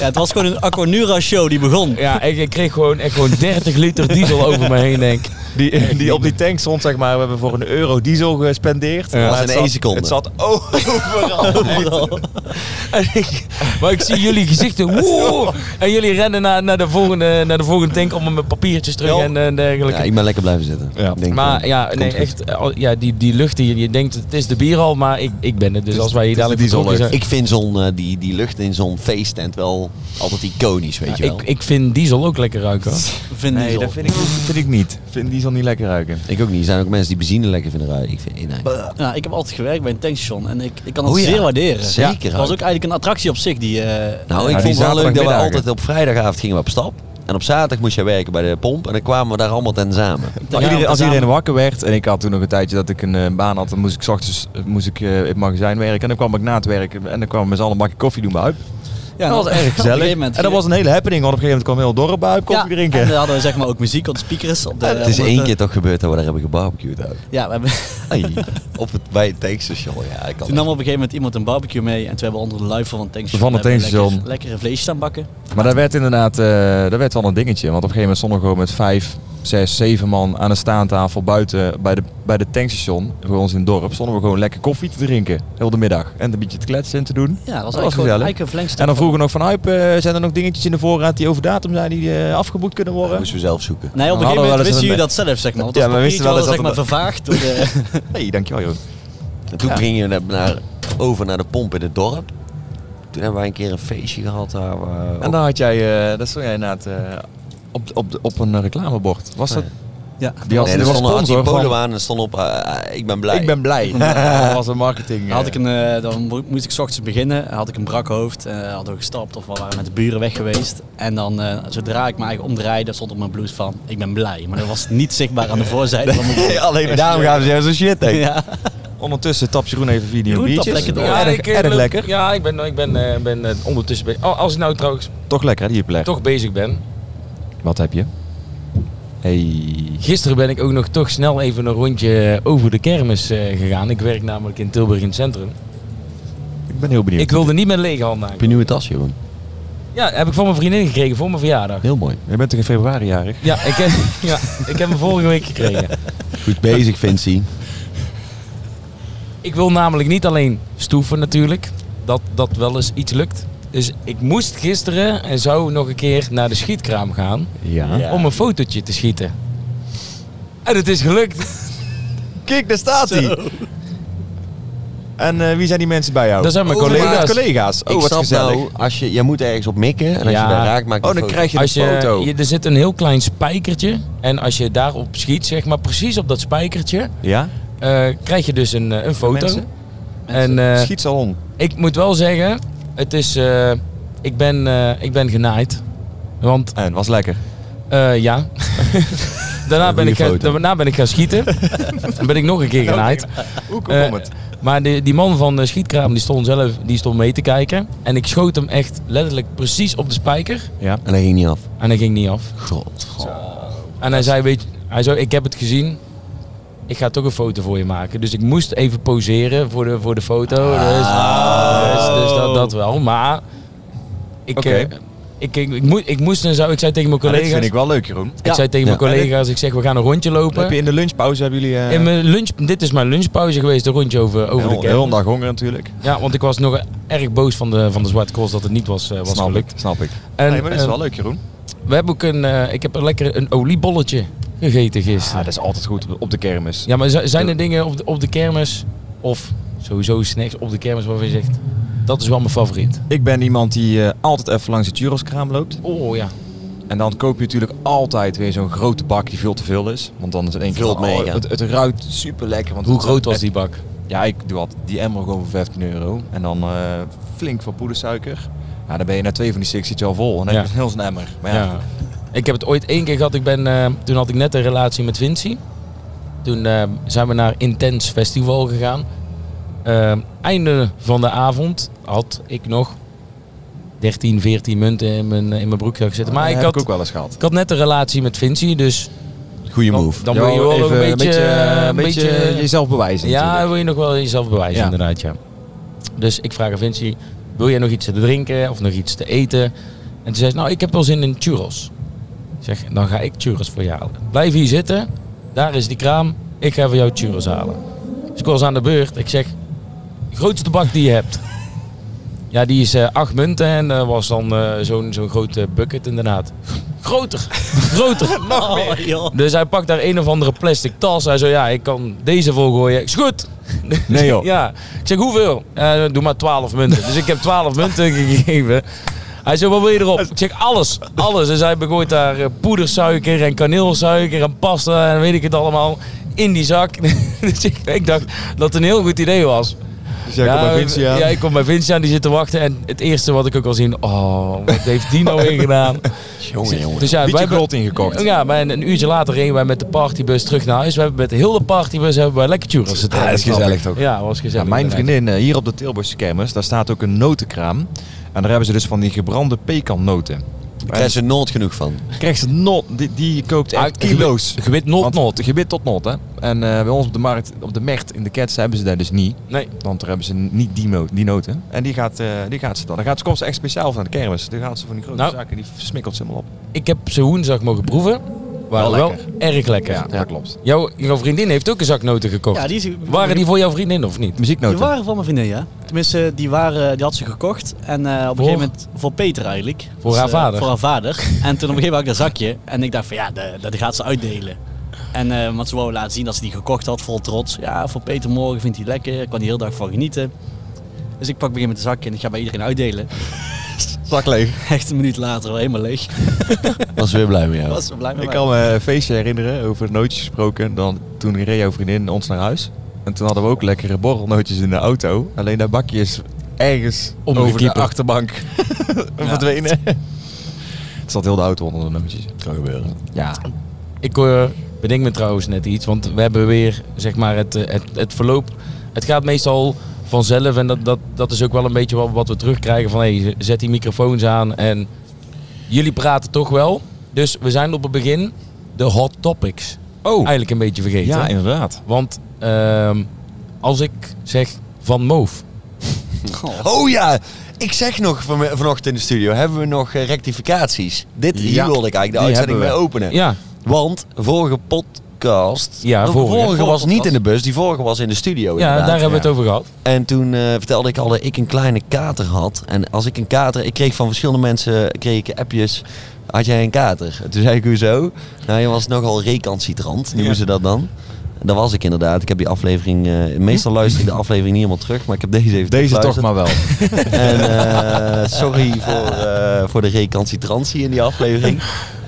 Ja, het was gewoon een Aquanura show die begon.
ja, ik, ik kreeg gewoon echt gewoon 30 liter diesel over me heen denk ik.
Die, die op die tank stond, zeg maar. We hebben voor een euro diesel gespendeerd.
Dat was
het
in
zat-
één seconde.
Het zat oh. overal.
En ik- maar ik zie jullie gezichten. Wow, en jullie rennen naar, naar, de volgende, naar de volgende tank om hem met papiertjes terug
Ja.
en eh, dergelijke.
Ja, ik ben lekker blijven zitten.
Ja.
Denk,
maar
eh,
ja,
komt
nee,
goed.
echt, eh, al- ja, die, die lucht hier. Je denkt, het is de bier al, maar ik, ik ben het. Dus als wij hier
het is
dadelijk
de
vertrokken zijn...
Ik vind zo'n, eh, die, die lucht in zo'n feesttent wel altijd iconisch, weet je
Ja,
wel.
ik, ik vind diesel ook lekker ruiken. hoor.
Vin
Nee,
Diesel.
dat vind ik, vind ik niet. Vind die zal niet lekker ruiken.
Ik ook niet. Er zijn ook mensen die benzine lekker vinden ruiken. Ik vind, nee.
Ja, ik heb altijd gewerkt bij een tankstation en ik, ik kan dat
Oh ja,
zeer waarderen.
zeker
Het was
ook.
ook eigenlijk een attractie op zich. Die, eh,
Nou, ik
Ja, die
vond het wel leuk dat we
zaterdagmiddagen.
altijd op vrijdagavond gingen we op stap. En op zaterdag moest jij werken bij de pomp. En dan kwamen we daar allemaal ten samen.
Als,
Ja,
iedereen, als
samen.
iedereen wakker werd en ik had toen nog een tijdje dat ik een eh, baan had, dan moest ik 's ochtends eh, moest ik, eh, in het magazijn werken. En dan kwam ik na het werk en dan kwamen we met z'n allen een bakje koffie doen bij Huip.
ja,
dat was
op een
erg
gegeven
gezellig. En
moment-
dat was een hele happening, want op een gegeven moment kwam heel het dorp bij Huip koffie
ja,
drinken.
En eh, daar hadden we zeg maar ook muziek op de speakers. Op de,
het is
op
één
eh,
keer toch gebeurd dat we daar hebben gebarbecued. ook.
Ja, we hebben,
Ai, op het, bij het tankstation. Ja, ik kan
toen nam op een gegeven moment iemand een barbecue mee. En toen hebben we onder de luifel van het tankstation...
Van het
hebben we
tankstation.
Lekker, lekkere vlees staan bakken.
Maar dat werd inderdaad eh, dat werd wel een dingetje. Want op een gegeven moment stonden we gewoon met vijf, zes, zeven man aan een staantafel buiten bij de, bij de tankstation. Voor ons in het dorp stonden we gewoon lekker koffie te drinken. Heel de middag. En een beetje te kletsen en te doen.
Ja, dat was
Dat
eigenlijk
was
gewoon
gezellig.
eigenlijk een flankstuk.
En dan vroegen we nog van Huip, eh, zijn er nog dingetjes in de voorraad die over datum zijn die eh, afgeboekt kunnen
Dat
worden?
moesten we zelf zoeken.
Nee, op een
Dan
gegeven
hadden we
moment
wel eens
wisten jullie
een-
dat zelf, zeg maar. Want
Ja,
dat
we wisten
papiertje
wel eens
was, zeg maar, vervaagd eh, door de...
hey, dankjewel joh.
En toen ging je naar, naar- over naar de pomp in het dorp. Toen hebben wij een keer een feestje gehad. Daar, we
En dan had jij, eh, dat stond jij inderdaad eh, op, de- op, de- op een reclamebord. Was dat?
Ja.
Die had,
nee,
die
er
was
stonden Artie
sponsor
Polo
van,
aan en stond op eh, eh, Ik ben blij.
Ik ben blij. dat was een marketing.
Dan, had ik
eh,
een, eh, dan mo- moest ik 's ochtends beginnen, had ik een brak hoofd, eh, hadden we gestapt of we waren met de buren weg geweest. En dan, eh, zodra ik me eigenlijk omdraaide, stond op mijn blouse van, ik ben blij. Maar dat was niet zichtbaar aan de voorzijde van mijn broek.
Alleen daarom gaan ze zo shit denk ik.
Ja.
Ondertussen tapt Jeroen even video
Jeroen tapt
biertjes.
lekker door.
Ja, erg,
ik, eh,
erg
loop-
lekker.
Ja, ik ben, ik ben, eh, ben eh, ondertussen bezig. Oh, als ik nou trouwens
Toch lekker hè, die plek.
toch bezig ben.
Wat heb je? Hey.
Gisteren ben ik ook nog toch snel even een rondje over de kermis eh, gegaan. Ik werk namelijk in Tilburg in het centrum.
Ik ben heel benieuwd.
Ik wilde niet met lege handen aan.
Heb je een nieuwe tas, Jeroen?
Ja, heb ik van mijn vriendin gekregen voor mijn verjaardag.
Heel mooi.
Je bent toch in februari jarig?
Ja, ik heb, ja, ik heb hem vorige week gekregen.
Goed bezig, Vinci.
Ik wil namelijk niet alleen stoeven natuurlijk. Dat, dat wel eens iets lukt. Dus ik moest gisteren en zou nog een keer naar de schietkraam gaan.
Ja.
Om een fotootje te schieten. En het is gelukt.
Kijk, daar staat hij. En eh, wie zijn die mensen bij jou?
Dat zijn mijn collega's.
collega's. Oh,
ik
wat
snap
gezellig.
nou, als je, jij moet ergens op mikken en als
Ja.
je daar raakt, maak je
Oh,
een
dan
foto.
krijg je een
Als je,
foto.
je- er zit een heel klein spijkertje. En als je daarop schiet, zeg maar precies op dat spijkertje,
Ja?
eh, krijg je dus een, eh, een foto.
Mensen?
En eh,
Schiet ze al om.
ik moet wel zeggen, het is, eh, ik, ben, eh, ik ben genaaid. Want
En was lekker.
eh, ja, daarna, ben ik, gaan-
foto.
daarna ben ik gaan schieten. Dan ben ik nog een keer genaaid.
Hoe komt
Eh, Maar die, die man van de schietkraam die stond zelf die stond mee te kijken. En ik schoot hem echt letterlijk precies op de spijker.
Ja.
En dat ging niet af.
En hij ging niet af.
God.
En hij zei, weet je, hij zei, ik heb het gezien. Ik ga toch een foto voor je maken. Dus ik moest even poseren voor de, voor de foto.
Ah.
Dus, dus, dus dat, dat wel. Maar ik,
Oké.
eh, ik, ik, ik, moest, ik moest en zou, ik zei tegen mijn
Ja, dit
collega's.
vind ik
ik,
wel leuk, Jeroen.
zei tegen mijn
Ja.
collega's, ik zeg we gaan een rondje
Heb je
lopen.
in de lunchpauze hebben jullie... eh,
In mijn lunch, dit is mijn lunchpauze geweest, een rondje over, over de
heel, heel een
kerk.
dag honger natuurlijk.
Ja, want ik was nog erg boos van de, van de Zwarte Cross dat het niet was, eh, was
snap
gelukt.
ik, snap ik.
En,
nee, maar dat is
eh,
wel leuk, Jeroen.
we hebben ook een, eh, ik heb een lekker een oliebolletje gegeten gisteren.
dat is altijd goed op, op de kermis.
Ja, maar z- zijn er dingen op de, op de kermis of sowieso snacks op de kermis waarvan je zegt dat is wel mijn favoriet?
Ik ben iemand die eh, altijd even langs de Churroskraam loopt.
Oh ja.
En dan koop je natuurlijk altijd weer zo'n grote bak die veel te veel is. Want dan is het één keer
Vult
van,
mee,
oh,
ja.
het, het ruikt super lekker. Want
Hoe
het-
groot was
het-
die bak?
Ja, ik doe altijd die emmer gewoon voor 15 euro. En dan eh, flink van poedersuiker. Ja, dan ben je na twee van die six zit je al vol. En dan
Ja.
heb je dus heel zo'n emmer. Maar ja,
Ja. Ik heb het ooit één keer gehad. Ik ben, eh, toen had ik net een relatie met Vinci. Toen eh, zijn we naar Intens Festival gegaan. Eh, einde van de avond had ik nog 13, 14 munten in mijn, in mijn broekzak zitten. Maar
dat
ik
Oh,
had,
heb ik ook wel eens gehad.
ik had net een relatie met Vinci, dus
Goeie
dan,
move.
dan wil je
Ja,
wel ook
even
een beetje...
eh,
een beetje-
jezelf bewijzen
Ja,
natuurlijk.
wil je nog wel jezelf bewijzen,
Ja.
inderdaad, ja. Dus ik vraag aan Vinci, wil jij nog iets te drinken of nog iets te eten? En toen zei ze, nou, ik heb wel zin in churros. Ik zeg, dan ga ik churros voor je halen. Blijf hier zitten. Daar is die kraam. Ik ga voor jou churros halen. Dus ik was aan de beurt. Ik zeg, grootste bak die je hebt. Ja, die is eh, acht munten en dat was dan eh, zo'n zo'n grote bucket inderdaad. Groter, groter.
Oh, joh.
Dus hij pakt daar een of andere plastic tas. Hij zo, ja, ik kan deze volgooien. Is goed.
Nee, joh.
ja. Ik zeg, hoeveel? Eh, doe maar 12 munten. Dus ik heb 12 munten gegeven. Hij zo, wat wil je erop? Ik zeg, alles. Alles. Dus hij begooit daar eh, poedersuiker en kaneelsuiker en pasta en weet ik het allemaal. In die zak. dus ik, ik dacht dat het een heel goed idee was.
Dus jij komt bij Vinci aan.
Ja, ik kom bij Vincent, die zit te wachten. En het eerste wat ik ook al zien, oh, wat heeft die nou weer gedaan?
Jongen, jongen.
Dus ja, wij
Beetje
hebben-
grot ingekocht.
ja, maar een, een uurtje later reden wij met de partybus terug naar huis. We hebben met de hele partybus hebben wij lekker churros
Ah,
getrunken.
dat is gezellig toch?
Ja, was gezellig.
Ja, mijn
inderdaad.
vriendin eh, hier op de Tilburgse kermis, daar staat ook een notenkraam. En daar hebben ze dus van die gebrande pekannoten.
Daar krijg je er nooit genoeg van.
Krijgt ze not, die, die koopt echt
Uit- gewit-
kilo's.
Gewit Ah, not
Want-
not.
Gebit tot not, hè. En eh, bij ons op de markt, op de Mert, in de Cats, hebben ze daar dus niet.
Nee,
Want daar hebben ze niet die, mo- die noten. En die gaat, eh, die gaat ze dan. Dan gaat ze, komt ze echt speciaal van de kermis. Dan gaat ze van die grote
Nou.
zaken, die smikkelt ze helemaal op.
ik heb ze woensdag mogen proeven. Waren
Wel
wel,
lekker.
erg lekker.
Ja, dat klopt.
Jouw, jouw vriendin heeft ook een zak noten gekocht.
Ja, die is-
Waren die voor jouw vriendin of niet?
Die
Muzieknoten.
waren van mijn vriendin, ja. Tenminste, die, waren, die had ze gekocht. En eh, op een
Voor?
gegeven moment voor Peter eigenlijk.
Voor
Dus,
haar
eh,
vader?
Voor haar vader. En toen op een gegeven moment had ik dat zakje. En ik dacht van ja, de- dat gaat ze uitdelen. En eh want ze wou laten zien dat ze die gekocht had, vol trots. Ja, voor Peter morgen vindt hij lekker. Ik kan die heel dag van genieten. Dus ik pak begin met de zakje en ik ga bij iedereen uitdelen.
Zak leeg.
Echt een minuut later, wel helemaal leeg.
Was weer blij met jou.
was ze blij mee.
Ik kan me een feestje herinneren, over nootjes gesproken. Dan, toen reed jouw vriendin ons naar huis. En toen hadden we ook lekkere borrelnootjes in de auto. Alleen dat bakje is ergens over de
Omgekiepen.
achterbank verdwenen. Het zat heel de auto onder de nootjes.
Kan gebeuren.
Ja.
Ik eh, bedenk me trouwens net iets, want we hebben weer zeg maar het, eh, het, het verloop. Het gaat meestal vanzelf en dat, dat, dat is ook wel een beetje wat, wat we terugkrijgen van hey, zet die microfoons aan en jullie praten toch wel. Dus we zijn op het begin de hot topics
Oh,
eigenlijk een beetje vergeten.
ja inderdaad.
want ehm, als ik zeg van Moof,
Oh ja, ik zeg nog van, vanochtend in de studio, hebben we nog eh, rectificaties? Dit,
Ja,
hier wilde ik eigenlijk de
die
uitzending
hebben
mee
we.
openen.
ja,
Want vorige podcast, Oh,
Ja,
de
vorige.
vorige,
Vorige
was niet
podcast.
in de bus, die vorige was in de
ja
studio
daar
inderdaad.
hebben we het over gehad.
En toen eh, vertelde ik al dat ik een kleine kater had. En als ik een kater, ik kreeg van verschillende mensen kreeg ik appjes. Had jij een kater? Toen zei ik, hoezo? Nou, je was nogal recalcitrant, noemen ze dat dan. En dat was ik inderdaad. Ik heb die aflevering, eh, meestal luister ik de aflevering niet helemaal terug, maar ik heb deze even
Deze toch
teruggeluisterd.
maar wel.
En eh, sorry voor, eh, voor de recalcitrantie in die aflevering.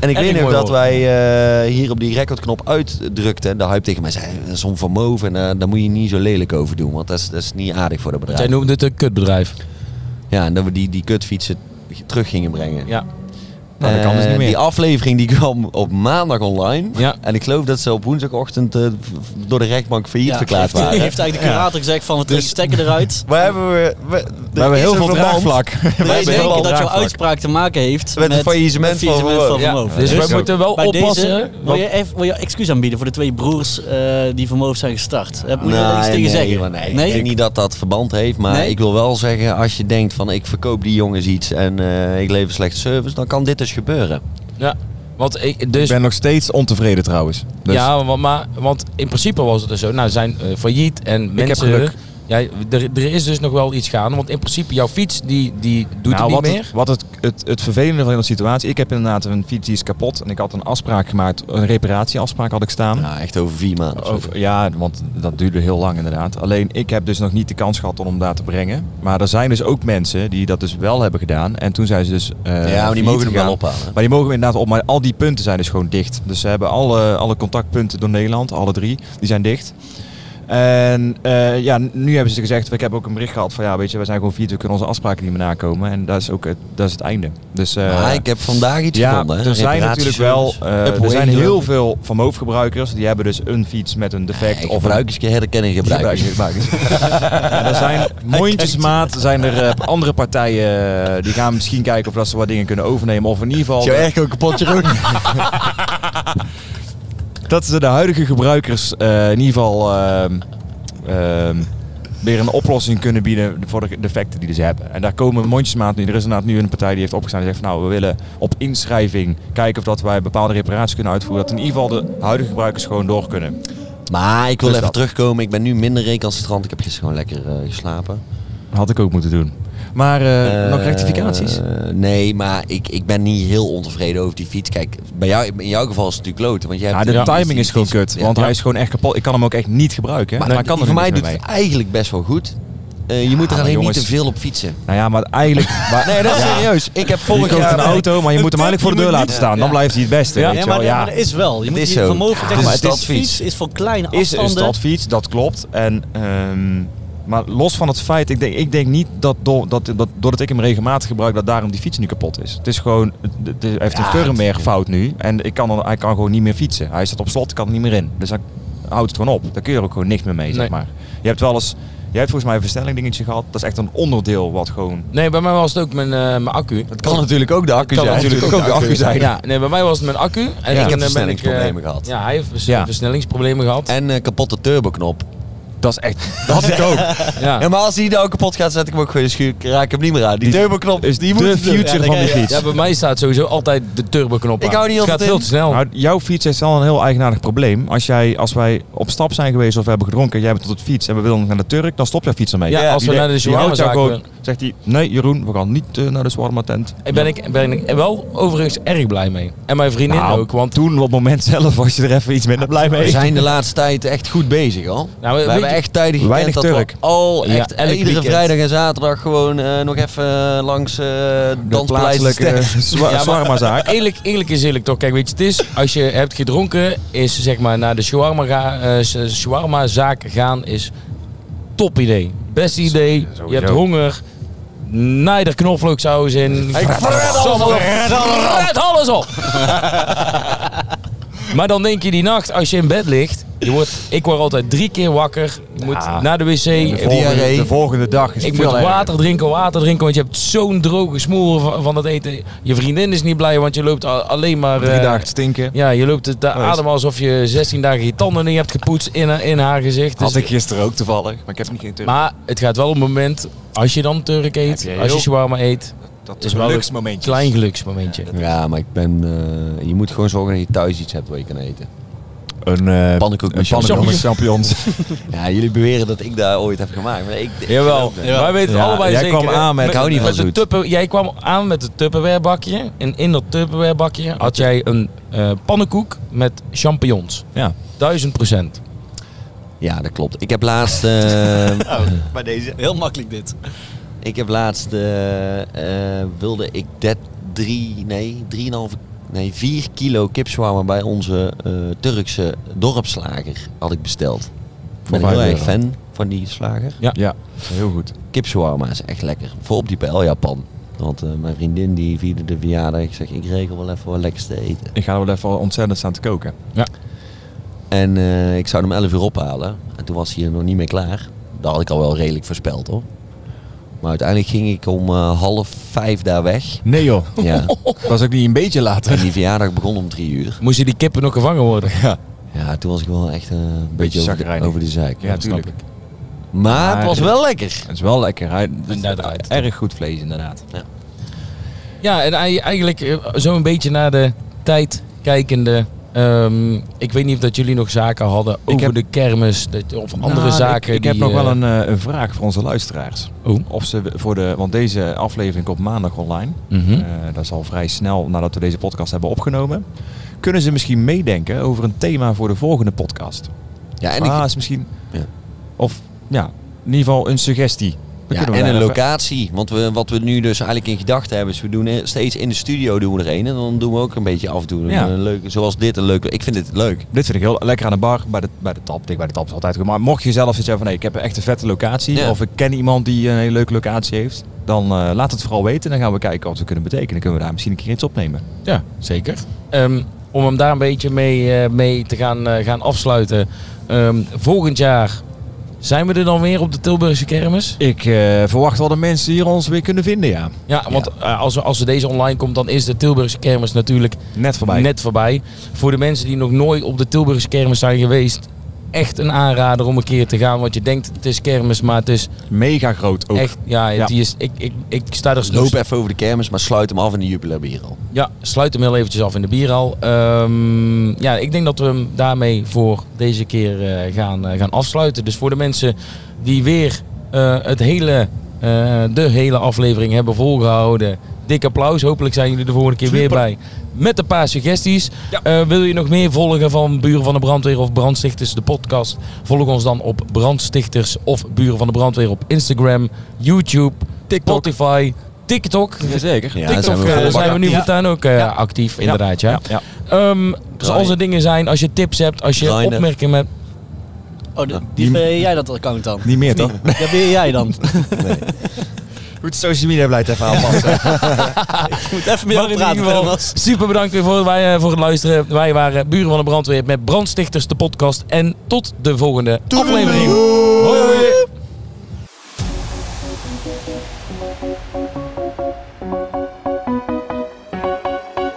En ik
Erg
weet nog
mooi
dat
woord.
wij eh, hier op die recordknop uitdrukten. En de hype tegen mij zei, "Eh, zo'n Van Moof, en eh, daar moet je niet zo lelijk over doen. Want dat is, dat is niet aardig voor dat bedrijf.
Jij noemde het een kutbedrijf.
Ja, en dat we die, die kutfietsen terug gingen brengen.
Ja,
Nou, dat kan dus
Eh,
niet meer.
Die aflevering die kwam op maandag online.
Ja.
En ik geloof dat ze op woensdagochtend eh, v- door de rechtbank failliet
Ja,
verklaard
heeft-
waren.
heeft eigenlijk de curator gezegd van we trekken de stekker eruit.
Waar hebben we... We, er
We hebben
is
heel
een
veel
verband
draagvlak. We
We
hebben heel
denken
veel
dat jouw
draagvlak.
uitspraak te maken heeft
Met het faillissement
het
van
faillissement
Vermeulen.
Van
ja.
Vermeulen.
dus
Dus
we moeten wel
Bij
oppassen.
deze wil
want-
je, even, wil je excuus aanbieden voor de twee broers eh, die vermogen zijn gestart. Heb moet je daar
Nou,
iets tegen
nee,
zeggen?
maar nee, Ik denk niet dat dat verband heeft, maar
Nee?
ik wil wel zeggen, als je denkt van ik verkoop die jongens iets en eh, ik lever slechte service, dan kan dit dus gebeuren.
Ja, want ik, dus
Ik ben nog steeds ontevreden trouwens. Dus
Ja, want, maar, want in principe was het dus zo. Nou, ze zijn eh, failliet en mensen...
geluk.
Ja, er, er is dus nog wel iets gaande. Want in principe, jouw fiets, die, die doet
nou,
het
wat
niet
het-
meer.
wat het, het, het vervelende van de situatie... Ik heb inderdaad een fiets die is kapot. En ik had een afspraak gemaakt. Een reparatieafspraak had ik staan.
Nou, echt over vier maanden. of zo.
Hm. Over- ja, want dat duurde heel lang inderdaad. Alleen ik heb dus nog niet de kans gehad om hem daar te brengen. Maar er zijn dus ook mensen die dat dus wel hebben gedaan. En toen zijn ze dus. eh,
ja, maar die
failliet
mogen hem wel
gegaan.
ophalen.
Maar die mogen we inderdaad op. Maar al die punten zijn dus gewoon dicht. Dus ze hebben alle, alle contactpunten door Nederland, alle drie, die zijn dicht. En eh, ja, nu hebben ze gezegd, ik heb ook een bericht gehad van ja, weet je, we zijn gewoon vier, we kunnen onze afspraken niet meer nakomen. En dat is ook het, dat is het einde. Dus, eh,
maar ik heb vandaag iets
ja,
gevonden. hè.
er zijn natuurlijk wel
Reparatieservice.
eh,
Upway
er zijn
doen.
heel veel van MOVE-gebruikers die hebben dus een fiets met een defect
Nee,
of een
gebruikers herkennen gebruikers.
gebruikers. Ja, er zijn mondjesmaat, zijn er eh, andere partijen eh, die gaan misschien kijken of dat ze wat dingen kunnen overnemen. Of in ieder geval
Zou je echt ook kapot Jeroen?
dat ze de huidige gebruikers eh, in ieder geval ehm, ehm, weer een oplossing kunnen bieden voor de defecten die ze hebben. En daar komen mondjesmaat nu. Er is inderdaad nu een partij die heeft opgestaan en zegt van nou, we willen op inschrijving kijken of dat wij bepaalde reparaties kunnen uitvoeren. Dat in ieder geval de huidige gebruikers gewoon door kunnen.
Maar ik wil
Dus
even
dat.
terugkomen. Ik ben nu minder recalcitrant. Ik heb gisteren gewoon lekker eh, geslapen.
Had ik ook moeten doen. Maar eh, nog
Eh,
rectificaties?
nee, maar ik, ik ben niet heel ontevreden over die fiets. Kijk, bij jou, in jouw geval is het natuurlijk kloten. Want jij
Ja,
hebt
de
die-
timing
die-
is gewoon
die-
kut.
ja.
Want
Ja.
hij is gewoon echt kapot. Ik kan hem ook echt niet gebruiken. Maar,
Maar,
ik kan er
voor mij
niks
doet
meer
het eigenlijk best wel goed. Eh, je moet er
maar
alleen
jongens.
niet te veel op fietsen.
mee. Nou ja, maar eigenlijk... maar-
Nee, dat is
Ja.
serieus. Ik heb
Je
vorig
koopt
jaar...
een auto, maar je moet hem eigenlijk voor de deur laten staan. Dan blijft hij het beste,
Ja.
weet je
maar,
wel. Ja,
maar dat is wel. Je moet
is
je
zo.
vermogen
Ja,
tegen
maar
de
het is
stadsfiets
fiets.
is voor kleine
is een
afstanden.
stadfiets, dat klopt. En, ehm, maar los van het feit, ik denk, ik denk niet dat, door dat, dat doordat ik hem regelmatig gebruik, dat daarom die fiets nu kapot is. Het is gewoon, het- het- hij heeft een firmware fout nu en ik kan, er- hij kan gewoon niet meer fietsen. Hij staat op slot, kan er niet meer in. Dus dan houdt het gewoon op. Daar kun je er ook gewoon niks meer mee, zeg
Nee.
maar. Je hebt wel eens, jij hebt volgens mij een versnelling dingetje gehad. Dat is echt een onderdeel wat gewoon...
Nee, bij mij was het ook mijn, eh, mijn accu.
Het kan natuurlijk ook de accu
kan
zijn.
natuurlijk
Het kan
ook de accu zijn.
Ja, nee, bij mij was het mijn accu. En toen, eh, ben
heb
eh,
versnellingsproblemen gehad.
Ja, hij heeft vers-
Ja.
versnellingsproblemen gehad.
En eh, kapotte turboknop.
Dat is echt... Dat had ik ook.
ja.
Ja, maar als die nou kapot gaat, zet ik hem ook gewoon in de schuur. Ik Raak hem niet meer aan. Die,
Die-
turboknop
Is
is
die
die
de
moet...
future van die fiets.
Ja, bij mij staat sowieso altijd de turboknop aan.
Ik hou niet
Het gaat
altijd
veel
in.
te snel.
Nou, jouw fiets heeft wel een heel eigenaardig probleem. Als, jij, als wij op stap zijn geweest of we hebben gedronken, jij bent tot het fiets en we willen naar de Turk, dan stopt jouw fiets ermee.
Ja, als we
Die
naar de
denkt- die houdt jou
shawarmazaak
gewoon, Zegt hij, nee Jeroen, we gaan niet eh, naar de shawarma tent.
Daar ben ik, ben ik wel overigens erg blij mee. En mijn vriendin
Nou,
ook. Want
Toen op het moment zelf was je er even iets minder blij mee.
We zijn de laatste tijd echt goed bezig al.
Nou,
we
weet
hebben
je-
echt tijdig gekend
Weinig
dat we
Turk.
al
Ja,
echt
elk
iedere
weekend.
vrijdag en zaterdag gewoon eh, nog even eh, langs eh
de plaatselijke
danspleisters.
maar-
shawarmazaak.
eerlijk, eerlijk is eerlijk toch. Kijk, weet je, het is als je hebt gedronken, is zeg maar naar de shawarma, ga, eh, s- shawarma-zaak gaan, is top idee. Beste idee. Je hebt honger. Naai er knoflooksaus in.
Ik fret alles op.
Fret alles op. Maar dan denk je die nacht, als je in bed ligt, je wordt, ik word altijd drie keer wakker. Je moet
Ja.
naar de wc.
De
eh,
volgende,
diarree.
de volgende dag is
ik
veel
moet
erger.
water drinken, water drinken, want je hebt zo'n droge smoel van, van dat eten. Je vriendin is niet blij, want je loopt al- alleen maar...
Drie
eh,
dagen te stinken.
Ja, je loopt het eh,
is-
adem alsof je 16 dagen je tanden niet hebt gepoetst in, haar- in haar gezicht. Dus-
Had ik gisteren ook toevallig, maar ik heb niet geen Turk.
Maar het gaat wel op het moment, als je dan Turk eet,
Heb je
als je
heel-
shawarma eet,
dat
is
is
wel
een
een
luxmomentje.
klein geluksmomentje.
Ja, maar ik ben... eh, je moet gewoon zorgen dat je thuis iets hebt waar je kan eten.
Een eh
Pannenkoek met
een pannenkoek met
champignons.
champignons.
Ja, jullie beweren dat ik daar ooit heb gemaakt. Maar ik, ik-
Jawel,
Jawel.
wij weten
Ja,
allebei
jij
zeker.
kwam aan met- Ik hou niet van
de
zoet.
tupper- jij kwam aan met het Tupperware bakje. En in dat Tupperware bakje had jij een eh, pannenkoek met champignons.
ja.
1000 procent.
Ja, dat klopt. Ik heb laatst... eh,
Bij deze. Heel makkelijk dit.
Ik heb laatst, eh, eh, wilde ik dat drie, nee, drieënhalf, nee, vier kilo kipswarmer bij onze eh, Turkse dorpsslager had ik besteld. Ik ben
vijf
heel erg
euro.
fan van die slager.
ja, heel goed.
Kipswarmer is echt lekker. Voor op die pijl Japan. Want eh, mijn vriendin die vierde de verjaardag. Ik zeg, ik regel wel even wat lekkers te eten.
Ik ga er wel even ontzettend staan te koken.
En eh, ik zou hem 11 uur ophalen. En toen was hij er nog niet mee klaar. Dat had ik al wel redelijk voorspeld hoor. Maar uiteindelijk ging ik om eh, half vijf daar weg.
Nee joh.
Ja.
Was ook niet een beetje
En
later.
die verjaardag begon om drie uur.
Moesten die kippen nog gevangen worden?
Ja, toen was ik wel echt eh, een beetje over de,
chagrijnig.
over de zeik.
Ja, tuurlijk.
Maar het
Maar-
was wel lekker.
Het is wel lekker. Hij,
En daar draait.
Erg goed vlees inderdaad.
Ja, en ei- eigenlijk eh, zo'n beetje naar de tijd kijkende. ehm, ik weet niet of dat jullie nog zaken hadden over
heb-
de kermis dat- of andere
Nou,
zaken.
Ik, ik
die,
heb nog wel
eh,
een, eh, een vraag voor onze luisteraars.
Oh.
Of ze voor de, want deze aflevering komt maandag online.
mhm.
Eh, dat is al vrij snel nadat we deze podcast hebben opgenomen. Kunnen ze misschien meedenken over een thema voor de volgende podcast?
Ja, en,
En
ik-
ah, is misschien.
Ja.
Of ja, in ieder geval een suggestie. Dan
ja,
kunnen we
en
daar
een
even-
locatie. Want we, wat we nu dus eigenlijk in gedachten hebben, is we doen eh, steeds in de studio doen we er een. En dan doen we ook een beetje af en toe. een,
Ja.
eh, leuke, zoals dit een leuke. Ik vind dit leuk. Dus
Dit vind ik heel lekker aan de bar, bij de, bij de tap. Dik bij de tap is altijd goed. Maar mocht je zelf zeggen van nee, ik heb echt een vette locatie.
Ja.
Of ik ken iemand die een hele leuke locatie heeft. Dan eh, laat het vooral weten. Dan gaan we kijken wat we kunnen betekenen. Dan kunnen we daar misschien een keer iets opnemen.
Ja, zeker. Ehm, om hem daar een beetje mee, eh, mee te gaan, eh, gaan afsluiten. Ehm, volgend jaar zijn we er dan weer op de Tilburgse kermis.
Ik eh, verwacht wel de mensen hier ons weer kunnen vinden, ja.
Ja, want eh, als, we- als we deze online komt, dan is de Tilburgse kermis natuurlijk
Net voorbij.
net voorbij. Voor de mensen die nog nooit op de Tilburgse kermis zijn geweest. echt een aanrader om een keer te gaan. Want je denkt, het is kermis, maar het is
Mega groot ook.
echt... Ja, het
Ja.
Die is, ik, ik, ik sta er...
Loop even over de kermis, maar sluit hem af in de jubilair al.
Ja, sluit hem heel eventjes af in de bierhal. Ehm, ja, ik denk dat we hem daarmee voor deze keer eh, gaan, eh, gaan afsluiten. Dus voor de mensen die weer eh, het hele, eh, de hele aflevering hebben volgehouden. Dik applaus. Hopelijk zijn jullie de volgende keer weer
Super.
bij met een paar suggesties. Eh, wil je nog meer volgen van Buren van de Brandweer of Brandstichters, de podcast? Volg ons dan op Brandstichters of Buren van de Brandweer op Instagram, YouTube,
TikTok.
Spotify, TikTok.
Jazeker.
Ja,
TikTok eh,
zijn
zijn
we
we,
volbakken.
zijn we nu
Ja.
voortaan ook eh, actief, inderdaad. Ja.
ja.
Ehm, dus
Draai.
als er dingen zijn, als je tips hebt, als je
Draai, hè.
opmerkingen hebt.
Oh, de- die ben jij dat account dan?
Niet meer toch?
Ja, ben jij dan?
Goed, social media blijft even aanpassen.
Ik moet even meer
Maar in ieder
praten,
geval,
Thomas.
super bedankt weer voor, wij, eh, voor het luisteren. Wij waren Buren van de Brandweer met Brandstichters, de podcast. En tot de volgende aflevering. Hoi, hoi.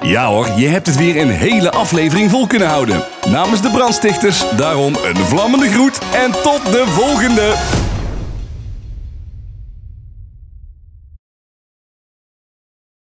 Ja hoor, je hebt het weer een hele aflevering vol kunnen houden. Namens de brandstichters, daarom een vlammende groet en tot de volgende!